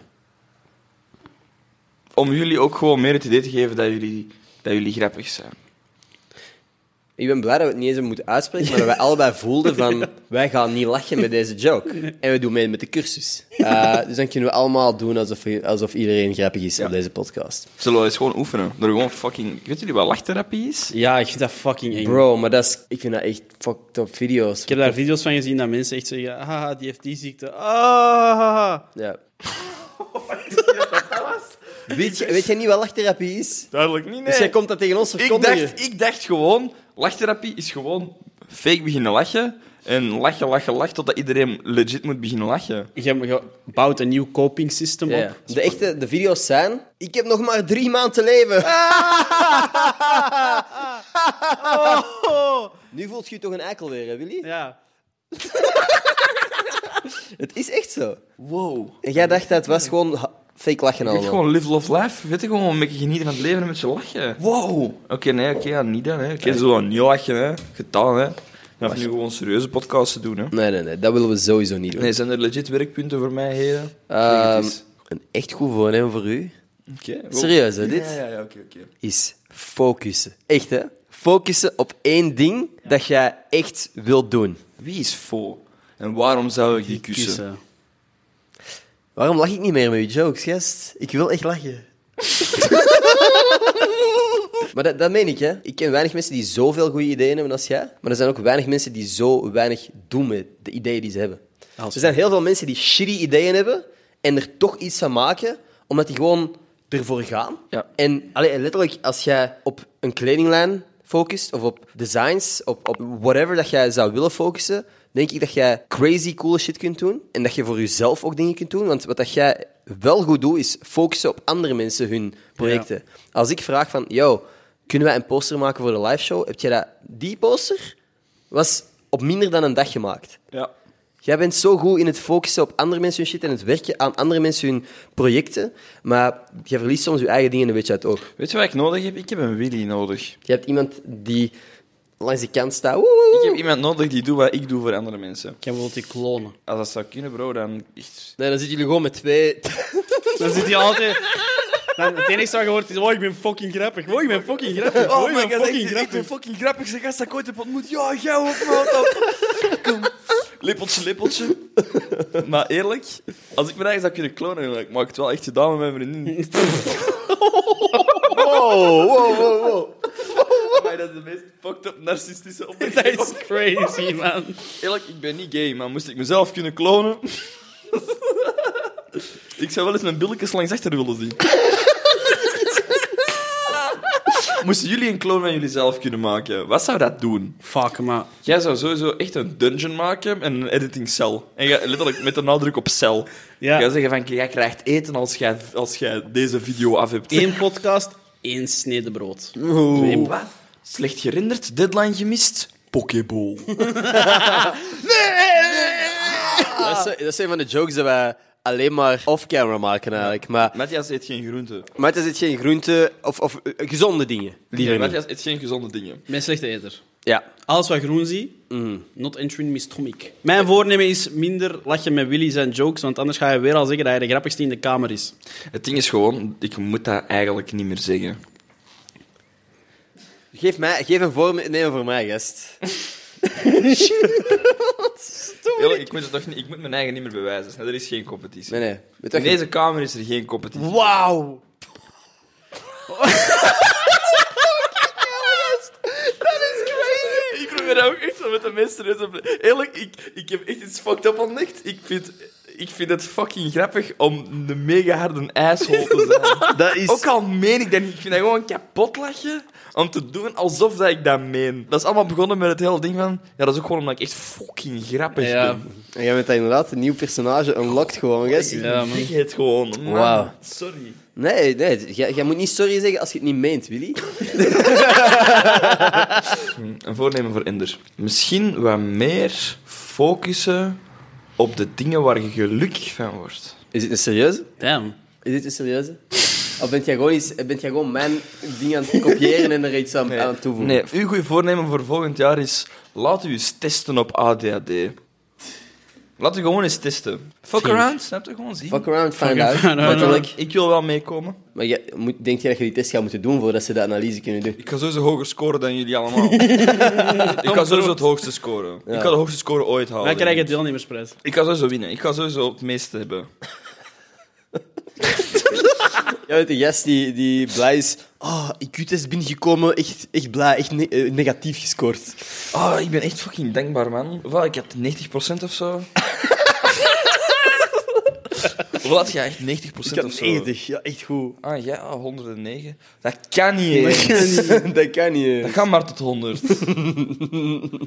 Speaker 2: Om jullie ook gewoon meer het idee te geven dat jullie, dat jullie grappig zijn.
Speaker 1: Ik ben blij dat we het niet eens moeten uitspreken, maar dat wij allebei voelden van... Wij gaan niet lachen met deze joke. En we doen mee met de cursus. Eh, dus dan kunnen we allemaal doen alsof, alsof iedereen grappig is op deze podcast.
Speaker 2: Zullen we eens gewoon oefenen? Door gewoon fucking... Weet jullie wat lachtherapie is?
Speaker 3: Ja, ik vind dat fucking eng.
Speaker 1: Bro, maar dat is... Ik vind dat echt fucked up video's.
Speaker 3: Ik heb daar video's van gezien dat mensen echt zeggen, "Ah, haha, die heeft die ziekte. Ah.
Speaker 1: Ja. Weet, je, weet jij niet wat lachtherapie is?
Speaker 2: Duidelijk niet,
Speaker 1: Dus jij komt dat tegen ons
Speaker 2: ik,
Speaker 1: verkondigen.
Speaker 2: dacht, ik dacht gewoon... Lachtherapie is gewoon fake beginnen lachen. En lachen, lachen, lachen, totdat iedereen legit moet beginnen lachen.
Speaker 3: Je, je bouwt een nieuw coping system
Speaker 1: Ja,
Speaker 3: op.
Speaker 1: De echte de video's zijn... Ik heb nog maar drie maanden te leven. Nu voelt je je toch een eikel weer, hè, Willy?
Speaker 3: Ja.
Speaker 1: Het is echt zo.
Speaker 2: Wow.
Speaker 1: En jij dacht dat het was gewoon ha- fake lachen
Speaker 2: Je
Speaker 1: allemaal.
Speaker 2: weet gewoon live, love, life. Weet je gewoon een beetje genieten van het leven en met je lachen. Wow. Oké, nee, oké, ja, niet dan. Hè. Oké, zo niet lachen, hè. Gedaan, hè. Dan hoef je nu gewoon serieuze podcasts te doen, hè.
Speaker 1: Nee, nee, nee. Dat willen we sowieso niet doen.
Speaker 2: Nee, zijn er legit werkpunten voor mij, heren? Zeg het
Speaker 1: Ehm,
Speaker 2: eens.
Speaker 1: een echt goed voornemen voor u
Speaker 2: Oké. wow.
Speaker 1: serieus, hè, dit?
Speaker 2: Ja, ja, ja, oké, oké.
Speaker 1: is focussen. Echt, hè? Focussen op één ding dat jij echt wilt doen.
Speaker 2: Wie is vol? En waarom zou ik die kussen?
Speaker 3: Kussen.
Speaker 1: Waarom lach ik niet meer met je jokes, gast? Ik wil echt lachen. maar dat, dat meen ik, hè? Ik ken weinig mensen die zoveel goede ideeën hebben als jij. Maar er zijn ook weinig mensen die zo weinig doen met de ideeën die ze hebben.
Speaker 3: Als-
Speaker 1: Er zijn heel veel mensen die shitty ideeën hebben en er toch iets van maken, omdat die gewoon ervoor gaan.
Speaker 2: Ja.
Speaker 1: En allee, letterlijk, als jij op een kledinglijn focust, of op designs, op, op whatever dat jij zou willen focussen, denk ik dat jij crazy coole shit kunt doen. En dat je voor jezelf ook dingen kunt doen. Want wat dat jij wel goed doet, is focussen op andere mensen hun projecten. Als ik vraag van, yo, kunnen wij een poster maken voor de liveshow? Heb jij dat, die poster was op minder dan een dag gemaakt.
Speaker 2: Ja.
Speaker 1: Jij bent zo goed in het focussen op andere mensen hun shit en het werken aan andere mensen hun projecten, maar je verliest soms je eigen dingen een beetje uit het oog.
Speaker 2: Weet je wat ik nodig heb? Ik heb een Willy nodig.
Speaker 1: Je hebt iemand die langs de kant staat. woe, woe,
Speaker 2: Ik
Speaker 1: woe.
Speaker 2: heb iemand nodig die doet wat ik doe voor andere mensen.
Speaker 3: Ik heb bijvoorbeeld die klonen.
Speaker 2: Als dat zou kunnen, bro, dan... echt-
Speaker 1: Nee, dan zitten jullie gewoon met twee.
Speaker 3: Dan zit hij altijd... Dan, het enige wat je hoort is, oh, ik ben fucking grappig. Oh, ik ben fucking grappig. Oh, ik ben fucking grappig.
Speaker 2: fucking grappig. Zeg, gast dat ik ooit heb ontmoet. Ja, jij ook, man. Oh, Kom. Lippeltje, lippeltje. Maar eerlijk, als ik me eigen zou kunnen klonen, dan maak ik het wel echt gedaan met mijn vriendin.
Speaker 1: Wow, wow, wow, wow.
Speaker 2: Maar dat is de meest fucked up narcistische
Speaker 3: Dat
Speaker 2: opmerking.
Speaker 3: is crazy, man.
Speaker 2: Eerlijk, ik ben niet gay, maar moest ik mezelf kunnen klonen... ik zou wel eens mijn billetjes langs achter willen zien. Moesten jullie een kloon van jullie zelf kunnen maken, wat zou dat doen?
Speaker 3: Fuck, maar...
Speaker 2: Jij zou sowieso echt een dungeon maken en een editingcel. En jij, letterlijk met de nadruk op cel.
Speaker 3: Ja.
Speaker 2: Jij zeggen van, jij krijgt eten als jij, als jij deze video af hebt.
Speaker 3: Eén podcast, één snede brood.
Speaker 2: Twee- wat? Slecht gerenderd, deadline gemist, pokeball.
Speaker 1: Dat, is, dat is een van de jokes dat wij alleen maar off-camera maken eigenlijk. Maar,
Speaker 2: Matthias eet geen groenten.
Speaker 1: maar het is het geen groente of, of eh, gezonde dingen. Liever niet.
Speaker 2: Matthias eet geen gezonde dingen.
Speaker 3: Mijn slechte eter.
Speaker 1: Ja.
Speaker 3: Alles wat groen zie, not entering my stomach. Mijn voornemen is minder lachen met Willy zijn jokes, want anders ga je weer al zeggen dat hij de grappigste in de kamer is.
Speaker 2: Het ding is gewoon, ik moet dat eigenlijk niet meer zeggen.
Speaker 1: Geef, mij, geef een voornemen voor mij, gast.
Speaker 2: Eerlijk, ik moet, het toch niet, ik moet mijn eigen niet meer bewijzen. Snel, Er is geen competitie.
Speaker 1: Nee, nee. Weet je
Speaker 2: In
Speaker 1: wat je-
Speaker 2: deze kamer is er geen competitie.
Speaker 1: Wauw!
Speaker 2: Ik probeer dat ook echt zo met de meest serieuze... bl- Eerlijk, ik, ik heb echt iets fucked up ontdekt. Ik vind, ik vind het fucking grappig om de mega harde asshole te zijn.
Speaker 1: Dat is...
Speaker 2: Ook al meen ik dat niet. Ik vind dat gewoon kapot lachen om te doen alsof dat ik dat meen. Dat is allemaal begonnen met het hele ding van... Ja, dat is ook gewoon omdat ik echt fucking grappig
Speaker 3: Ja.
Speaker 2: ben.
Speaker 1: En jij bent dat inderdaad een nieuw personage unlocked gewoon, gast.
Speaker 3: Ja, man.
Speaker 2: Ik het gewoon. man.
Speaker 1: Wauw.
Speaker 2: Sorry.
Speaker 1: Nee, nee, jij, jij moet niet sorry zeggen als je het niet meent, Willy.
Speaker 2: Hmm, Een voornemen voor Ender. Misschien wat meer focussen op de dingen waar je gelukkig van wordt.
Speaker 1: Is dit een serieuze?
Speaker 3: Damn.
Speaker 1: Is dit een serieuze? Of bent jij gewoon, iets, bent jij gewoon mijn ding aan het kopiëren en er iets aan, aan toevoegen?
Speaker 2: Nee, uw goede voornemen voor volgend jaar is... Laat u eens testen op ADHD. Laat u gewoon eens testen. Fuck around, snap je? Gewoon zien.
Speaker 1: Fuck around, find
Speaker 3: Fuck
Speaker 1: out.
Speaker 3: around,
Speaker 1: Letterlijk.
Speaker 2: Ik wil wel meekomen.
Speaker 1: Maar jij, moet, denk jij dat je die test gaat moeten doen voordat ze de analyse kunnen doen?
Speaker 2: Ik ga sowieso hoger scoren dan jullie allemaal. ik ga sowieso het hoogste scoren. Ik ga de hoogste score ooit halen.
Speaker 3: Wij krijgen deelnemersprijs.
Speaker 2: Ik ga sowieso winnen. Ik ga sowieso het meeste hebben.
Speaker 1: Ja, weet je, gast die, die blij is. Oh, IQ-test is binnengekomen. Echt, echt blij. Echt ne- eh, negatief gescoord.
Speaker 2: Oh, ik ben echt fucking dankbaar, man. Wel, ik had 90% of zo. Wat had jij echt 90%
Speaker 1: Ik had
Speaker 2: of zo?
Speaker 1: 90. Ja, echt goed.
Speaker 2: Ah, jij ah, 109. Dat kan niet. hè.
Speaker 1: Dat kan niet.
Speaker 2: Dat
Speaker 1: hè.
Speaker 2: gaat maar tot 100.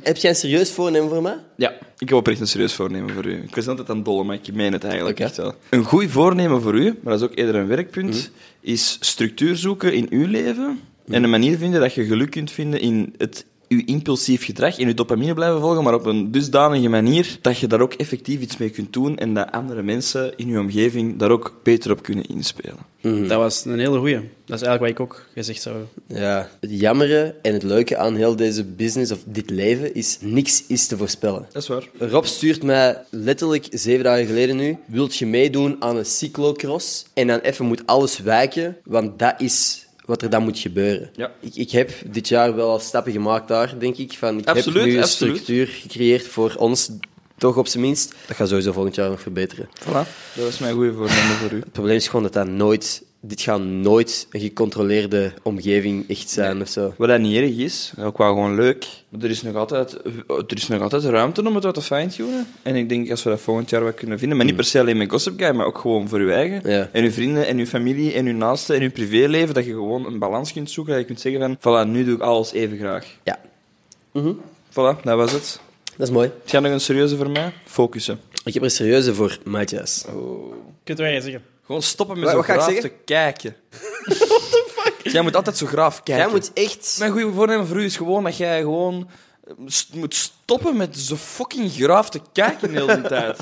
Speaker 1: Heb jij een serieus voornemen voor mij?
Speaker 2: ja, ik heb oprecht een serieus voornemen voor u. Ik was altijd aan het dollen, maar ik meen het eigenlijk
Speaker 1: Oké.
Speaker 2: echt wel. Een goed voornemen voor u, maar dat is ook eerder een werkpunt, is structuur zoeken in uw leven en een manier vinden dat je geluk kunt vinden in het uw impulsief gedrag in je dopamine blijven volgen, maar op een dusdanige manier dat je daar ook effectief iets mee kunt doen en dat andere mensen in je omgeving daar ook beter op kunnen inspelen.
Speaker 3: Dat was een hele goeie. Dat is eigenlijk wat ik ook gezegd zou hebben.
Speaker 1: Ja. Het jammere en het leuke aan heel deze business of dit leven is niks is te voorspellen.
Speaker 2: Dat is waar.
Speaker 1: Rob stuurt mij letterlijk zeven dagen geleden nu. Wilt je meedoen aan een cyclocross? En dan even moet alles wijken, want dat is wat er dan moet gebeuren.
Speaker 2: Ja.
Speaker 1: Ik, ik heb dit jaar wel al stappen gemaakt daar, denk ik. Van, ik
Speaker 2: Absoluut,
Speaker 1: heb nu een
Speaker 2: absoluut.
Speaker 1: structuur gecreëerd voor ons, toch op zijn minst. Dat gaat sowieso volgend jaar nog verbeteren.
Speaker 2: Voilà, dat is mijn goede voornemen voor u.
Speaker 1: Het probleem is gewoon dat dat nooit... Dit gaat nooit een gecontroleerde omgeving echt zijn of zo.
Speaker 2: Wat dat niet erg is, ook wel gewoon leuk. Maar er is nog altijd, er is nog altijd ruimte om het wat te fine-tunen. En ik denk als we dat volgend jaar wat kunnen vinden, maar niet per se alleen met Gossip Guy, maar ook gewoon voor je eigen.
Speaker 1: Ja.
Speaker 2: En je vrienden en je familie en je naasten en je privéleven, dat je gewoon een balans kunt zoeken. Dat je kunt zeggen van, voilà, nu doe ik alles even graag.
Speaker 1: Ja, Mhm.
Speaker 2: Voilà, dat was het.
Speaker 1: dat is mooi.
Speaker 2: Het gaat nog een serieuze voor mij? Focussen.
Speaker 1: Ik heb er een serieuze voor, maatjes.
Speaker 3: Kunt wij zeggen?
Speaker 2: Gewoon stoppen met
Speaker 1: Wat-
Speaker 2: zo
Speaker 1: wat ga ik
Speaker 2: graaf te
Speaker 1: zeggen?
Speaker 2: kijken. What the fuck? Jij moet altijd zo graaf kijken.
Speaker 1: Jij moet echt...
Speaker 2: Mijn goede voornemen voor u is gewoon dat jij gewoon eh, st- moet stoppen met zo fucking graaf te kijken de hele tijd.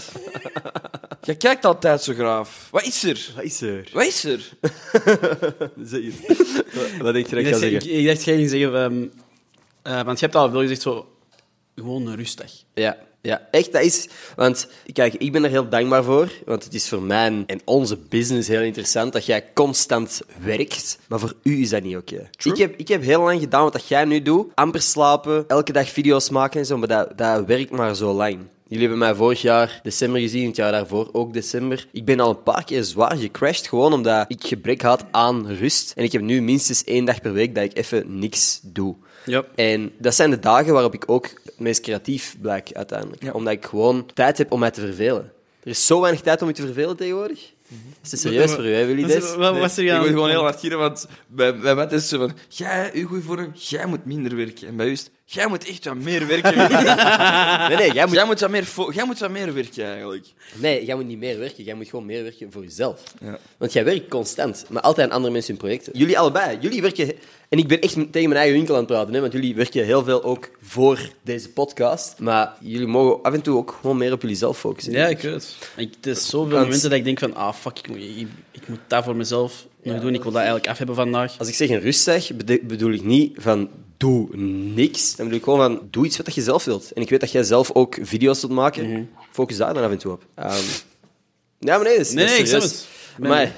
Speaker 2: jij kijkt altijd zo graaf. Wat is er?
Speaker 1: Wat is er?
Speaker 2: Wat is er?
Speaker 1: Wat denk je dat ik
Speaker 3: Ik
Speaker 1: ga
Speaker 3: dacht,
Speaker 1: zeggen?
Speaker 3: ik, ik dacht, jij ging zeggen... ehm, eh, want je hebt al veel gezegd, zo... Gewoon een rustdag.
Speaker 1: Ja, ja, echt, dat is... Want, kijk, ik ben er heel dankbaar voor. Want het is voor mij en onze business heel interessant dat jij constant werkt. Maar voor u is dat niet oké. Ik, heb, ik heb heel lang gedaan wat dat jij nu doet. Amper slapen, elke dag video's maken en zo. Maar dat, dat werkt maar zo lang. Jullie hebben mij vorig jaar december gezien, het jaar daarvoor ook december. Ik ben al een paar keer zwaar gecrashed, gewoon omdat ik gebrek had aan rust. En ik heb nu minstens één dag per week dat ik even niks doe.
Speaker 3: Ja.
Speaker 1: En dat zijn de dagen waarop ik ook het meest creatief blijk uiteindelijk. Omdat ik gewoon tijd heb om mij te vervelen. Er is zo weinig tijd om je te vervelen tegenwoordig. Is het serieus voor u, hè, Willy
Speaker 3: Wat-
Speaker 1: Des?
Speaker 3: wat- wat was er
Speaker 2: Ik
Speaker 3: aan-
Speaker 2: moet gewoon heel hard gieren, want bij, bij Matt is het zo van... Jij, uw goede vorm, jij moet minder werken. En bij u is het, Jij moet echt wat meer werken.
Speaker 1: Nee, nee, jij moet,
Speaker 2: jij, moet wat meer fo- jij moet wat meer werken, eigenlijk.
Speaker 1: nee, jij moet niet meer werken. Jij moet gewoon meer werken voor jezelf.
Speaker 2: Ja.
Speaker 1: Want jij werkt constant, maar altijd aan andere mensen hun projecten. Jullie allebei, jullie werken... En ik ben echt tegen mijn eigen winkel aan het praten, hè, want jullie werken heel veel ook voor deze podcast. Maar jullie mogen af en toe ook gewoon meer op jullie zelf focussen.
Speaker 3: Ja, ik weet het. Ik, het is zoveel
Speaker 1: Want-
Speaker 3: momenten dat ik denk van... Ah, fuck, ik moet, ik, ik moet dat voor mezelf nog doen. Ik wil dat eigenlijk af hebben vandaag.
Speaker 1: Als ik zeg een rustdag, bede- bedoel ik niet van doe niks. Dan bedoel ik gewoon van doe iets wat je zelf wilt. En ik weet dat jij zelf ook video's wilt maken.
Speaker 3: Mhm.
Speaker 1: Focus daar dan af en toe op. Ehm, ja, maar nee, dat is
Speaker 3: Nee,
Speaker 1: dat is
Speaker 3: nee, ik snap
Speaker 1: serieus.
Speaker 3: het. Nee,
Speaker 1: Maar,
Speaker 3: nee.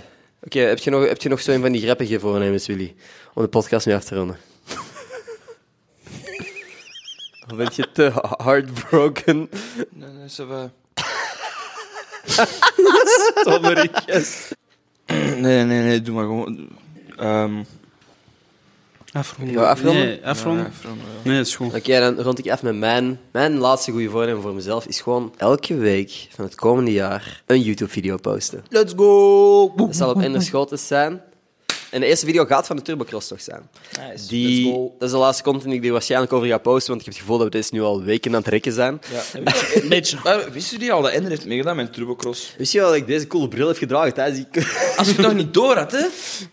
Speaker 1: oké, heb je nog, heb je nog zo'n van die grappige voornemens, Willy? Om de podcast mee af te ronden. Of ben je te heartbroken?
Speaker 2: Nee, nee, ça va.
Speaker 3: Sorry.
Speaker 2: Nee, nee, nee, nee, doe maar gewoon... Ehm
Speaker 1: Gaan we afronden?
Speaker 3: Nee, afronden?
Speaker 2: ja, from, eh,
Speaker 3: Nee, dat is goed.
Speaker 1: Oké, dan rond ik af met mijn, mijn laatste goede voornemen voor mezelf. Is gewoon elke week van het komende jaar een YouTube-video posten.
Speaker 2: Let's go! Boem.
Speaker 1: Dat zal op Ender Schotens zijn. En de eerste video gaat van de Turbocross toch zijn. Die, dat is de laatste content die ik er waarschijnlijk over ga posten, want ik heb het gevoel dat we deze nu al weken aan het rekken zijn.
Speaker 3: Een beetje.
Speaker 2: Maar wisten jullie al dat Ender heeft meegedaan met Turbocross?
Speaker 1: Wist je wel dat ik deze coole bril heb gedragen tijdens die...
Speaker 2: Als je het nog niet door had, hè?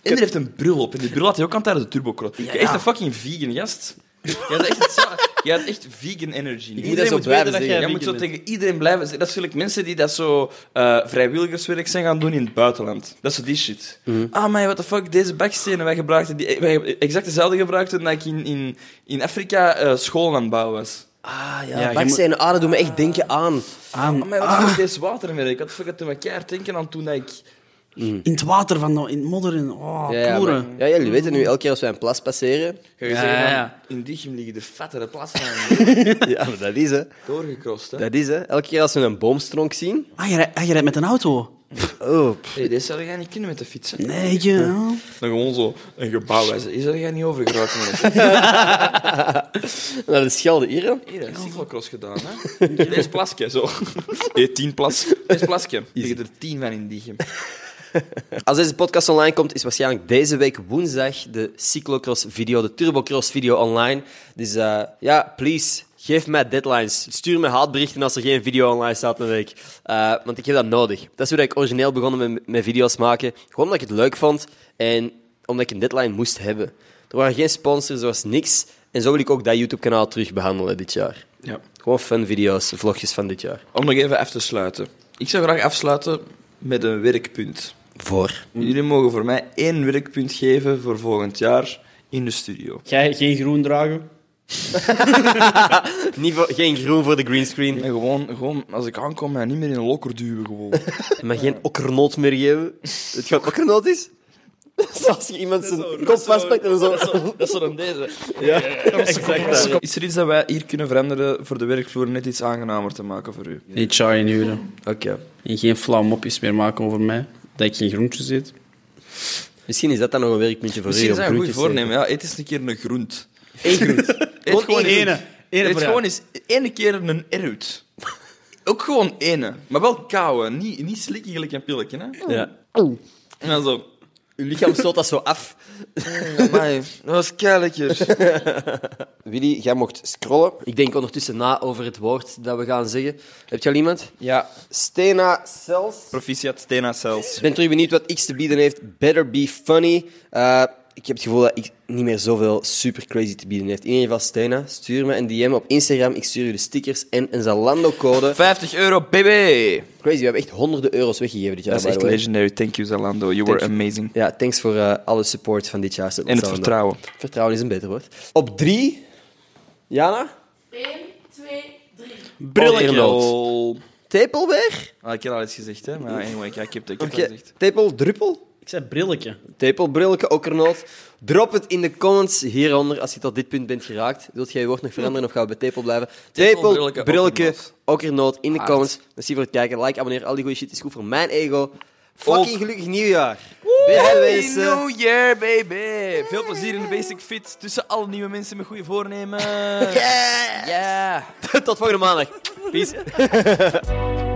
Speaker 2: Ender heeft een bril op. En die bril had hij ook aan tijdens de Turbocross. Echt een fucking vegan gast. Jij had echt, zo, jij had echt vegan energy.
Speaker 1: moet dat zo blijven
Speaker 2: dat
Speaker 1: zeggen.
Speaker 2: jij, jij moet zo tegen iedereen blijven zeggen. Dat is natuurlijk mensen die dat zo eh, vrijwilligerswerk zijn gaan doen in het buitenland. Dat is zo die shit.
Speaker 1: Mhm.
Speaker 2: Ah, maar what the fuck, deze bakstenen, wij gebruikten die... Wij hebben exact dezelfde gebruikt toen ik in, in, in Afrika eh, scholen aan het bouwen was.
Speaker 1: Ah
Speaker 3: je
Speaker 1: ja,
Speaker 3: moet-
Speaker 1: bakstenen. Ah, dat doet me echt denken aan.
Speaker 2: Ah, maar wat the fuck, deze watermerk. Wat the fuck, dat toen we keihard denken aan toen dat ik...
Speaker 3: In het water, van, de- in het modder. in- Oh,
Speaker 2: Ja, ja,
Speaker 3: kloren.
Speaker 1: Ja, jullie weten nu, elke keer als wij een plas passeren...
Speaker 2: Ga je
Speaker 3: Ja,
Speaker 2: zeggen,
Speaker 3: ja,
Speaker 2: van,
Speaker 3: ja.
Speaker 2: in Dichum liggen de vettere plassen aan.
Speaker 1: ja, maar dat is, hè.
Speaker 2: doorgekrost. Hè.
Speaker 1: Dat is, hè. Elke keer als we een boomstronk zien...
Speaker 3: Ah, je rijdt, ah, je rijdt met een auto?
Speaker 1: Oh, pff.
Speaker 2: Hey, deze zou jij niet kunnen met de fiets. hè.
Speaker 3: Nee, je... Oh.
Speaker 2: Dan gewoon zo een gebouw. Hij zei, Hier zou jij niet over geraakt worden.
Speaker 1: naar de Schelde, hier, hè.
Speaker 2: Hier, een cyclocross gedaan, hè? Deze plasje, zo. Hey, tien plas. Deze plasje. Liggen er tien van in Diegem.
Speaker 1: Als deze podcast online komt, is waarschijnlijk deze week woensdag de cyclocross-video, de turbocross-video online. Dus eh, ja, please, geef mij deadlines. Stuur me haatberichten als er geen video online staat een week. Eh, want ik heb dat nodig. Dat is hoe dat ik origineel begonnen met, met video's maken. Gewoon omdat ik het leuk vond en omdat ik een deadline moest hebben. Er waren geen sponsors, er was niks. En zo wil ik ook dat YouTube-kanaal terug behandelen dit jaar.
Speaker 2: Ja.
Speaker 1: Gewoon fun video's, vlogjes van dit jaar.
Speaker 2: Om nog even af te sluiten. Ik zou graag afsluiten met een werkpunt.
Speaker 1: Voor.
Speaker 2: Jullie mogen voor mij één werkpunt geven voor volgend jaar in de studio.
Speaker 3: Jij geen groen dragen?
Speaker 1: Niet voor- geen groen voor de greenscreen.
Speaker 2: En gewoon, gewoon, als ik aankom, mij niet meer in een lokker duwen. Gewoon.
Speaker 1: Maar geen okkernoot meer geven. Het gaat okkernoot is? Zoals je iemand zijn kop vastpakt en zo.
Speaker 2: Dat is dan deze.
Speaker 1: Exact. dat.
Speaker 2: Is er iets dat wij hier kunnen veranderen voor de werkvloer net iets aangenamer te maken voor u?
Speaker 3: Niet chai inhuren.
Speaker 2: Oké.
Speaker 3: En geen flauw mopjes meer maken over mij. Dat ik geen groentjes eet.
Speaker 1: Misschien is dat dan nog een werkpuntje voor
Speaker 2: Misschien
Speaker 1: u.
Speaker 2: is
Speaker 1: om
Speaker 2: dat een goed
Speaker 1: groentjes te
Speaker 2: voornemen. Ja, eet eens een keer een groent.
Speaker 1: eten. Eén groent.
Speaker 2: Eet gewoon
Speaker 3: één.
Speaker 2: eens-
Speaker 3: Ene. Ene
Speaker 2: Eet
Speaker 3: per
Speaker 2: gewoon
Speaker 3: jaar.
Speaker 2: eens ene keer een eruit. Ook gewoon ene. Maar wel kouwe. Niet, niet slikken gelijk een pilletje. Hè?
Speaker 1: Ja.
Speaker 2: En dan zo...
Speaker 1: Uw lichaam stoot dat zo af.
Speaker 2: Amai, dat was keilekker.
Speaker 1: Willy, jij mocht scrollen. Ik denk ondertussen na over het woord dat we gaan zeggen. Heb je al iemand?
Speaker 2: Ja.
Speaker 1: Stena Cels.
Speaker 2: Proficiat Stena Cells.
Speaker 1: Ik ben terug benieuwd wat X te bieden heeft. Better be funny. Eh, ik heb het gevoel dat ik niet meer zoveel super crazy te bieden heeft. In ieder geval, Stena, stuur me een DM op Instagram. Ik stuur je de stickers en een Zalando-code.
Speaker 2: 50 euro, baby!
Speaker 1: Crazy, we hebben echt honderden euro's weggegeven dit jaar.
Speaker 2: Dat is
Speaker 1: by
Speaker 2: echt
Speaker 1: the way.
Speaker 2: legendary. Thank you, Zalando. You were amazing.
Speaker 1: Ja, thanks voor eh, alle support van dit jaar. eh,
Speaker 2: En het vertrouwen.
Speaker 1: Vertrouwen is een beter woord. Op drie, Jana,
Speaker 4: 1, 2, 3.
Speaker 1: Brilletje. tepel weer.
Speaker 2: Ah, ik heb al iets gezegd, hè. Maar anyway, ja, ik heb het ik heb het al
Speaker 1: Oké,
Speaker 2: gezegd.
Speaker 1: Tepel, druppel.
Speaker 3: Ik zei brilletje.
Speaker 1: Tepel, brilletje, okkernoot. Drop het in de comments hieronder als je tot dit punt bent geraakt. Wilt jij je woord nog veranderen of gaan we bij tepel blijven? Tepel,
Speaker 2: brilletje,
Speaker 1: brilletje,
Speaker 2: okkernoot. Ah,
Speaker 1: okkernoot in de
Speaker 2: Hard.
Speaker 1: comments. Merci voor het kijken. Like, abonneer, al die goede shit is goed voor mijn ego. Fucking
Speaker 2: Ook.
Speaker 1: gelukkig nieuwjaar. Beste
Speaker 2: Happy
Speaker 1: wensen.
Speaker 2: New Year, baby! Veel plezier in de Basic Fit. Tussen alle nieuwe mensen met goede voornemen.
Speaker 1: Yeah!
Speaker 2: Yeah!
Speaker 1: Tot volgende maandag. Peace.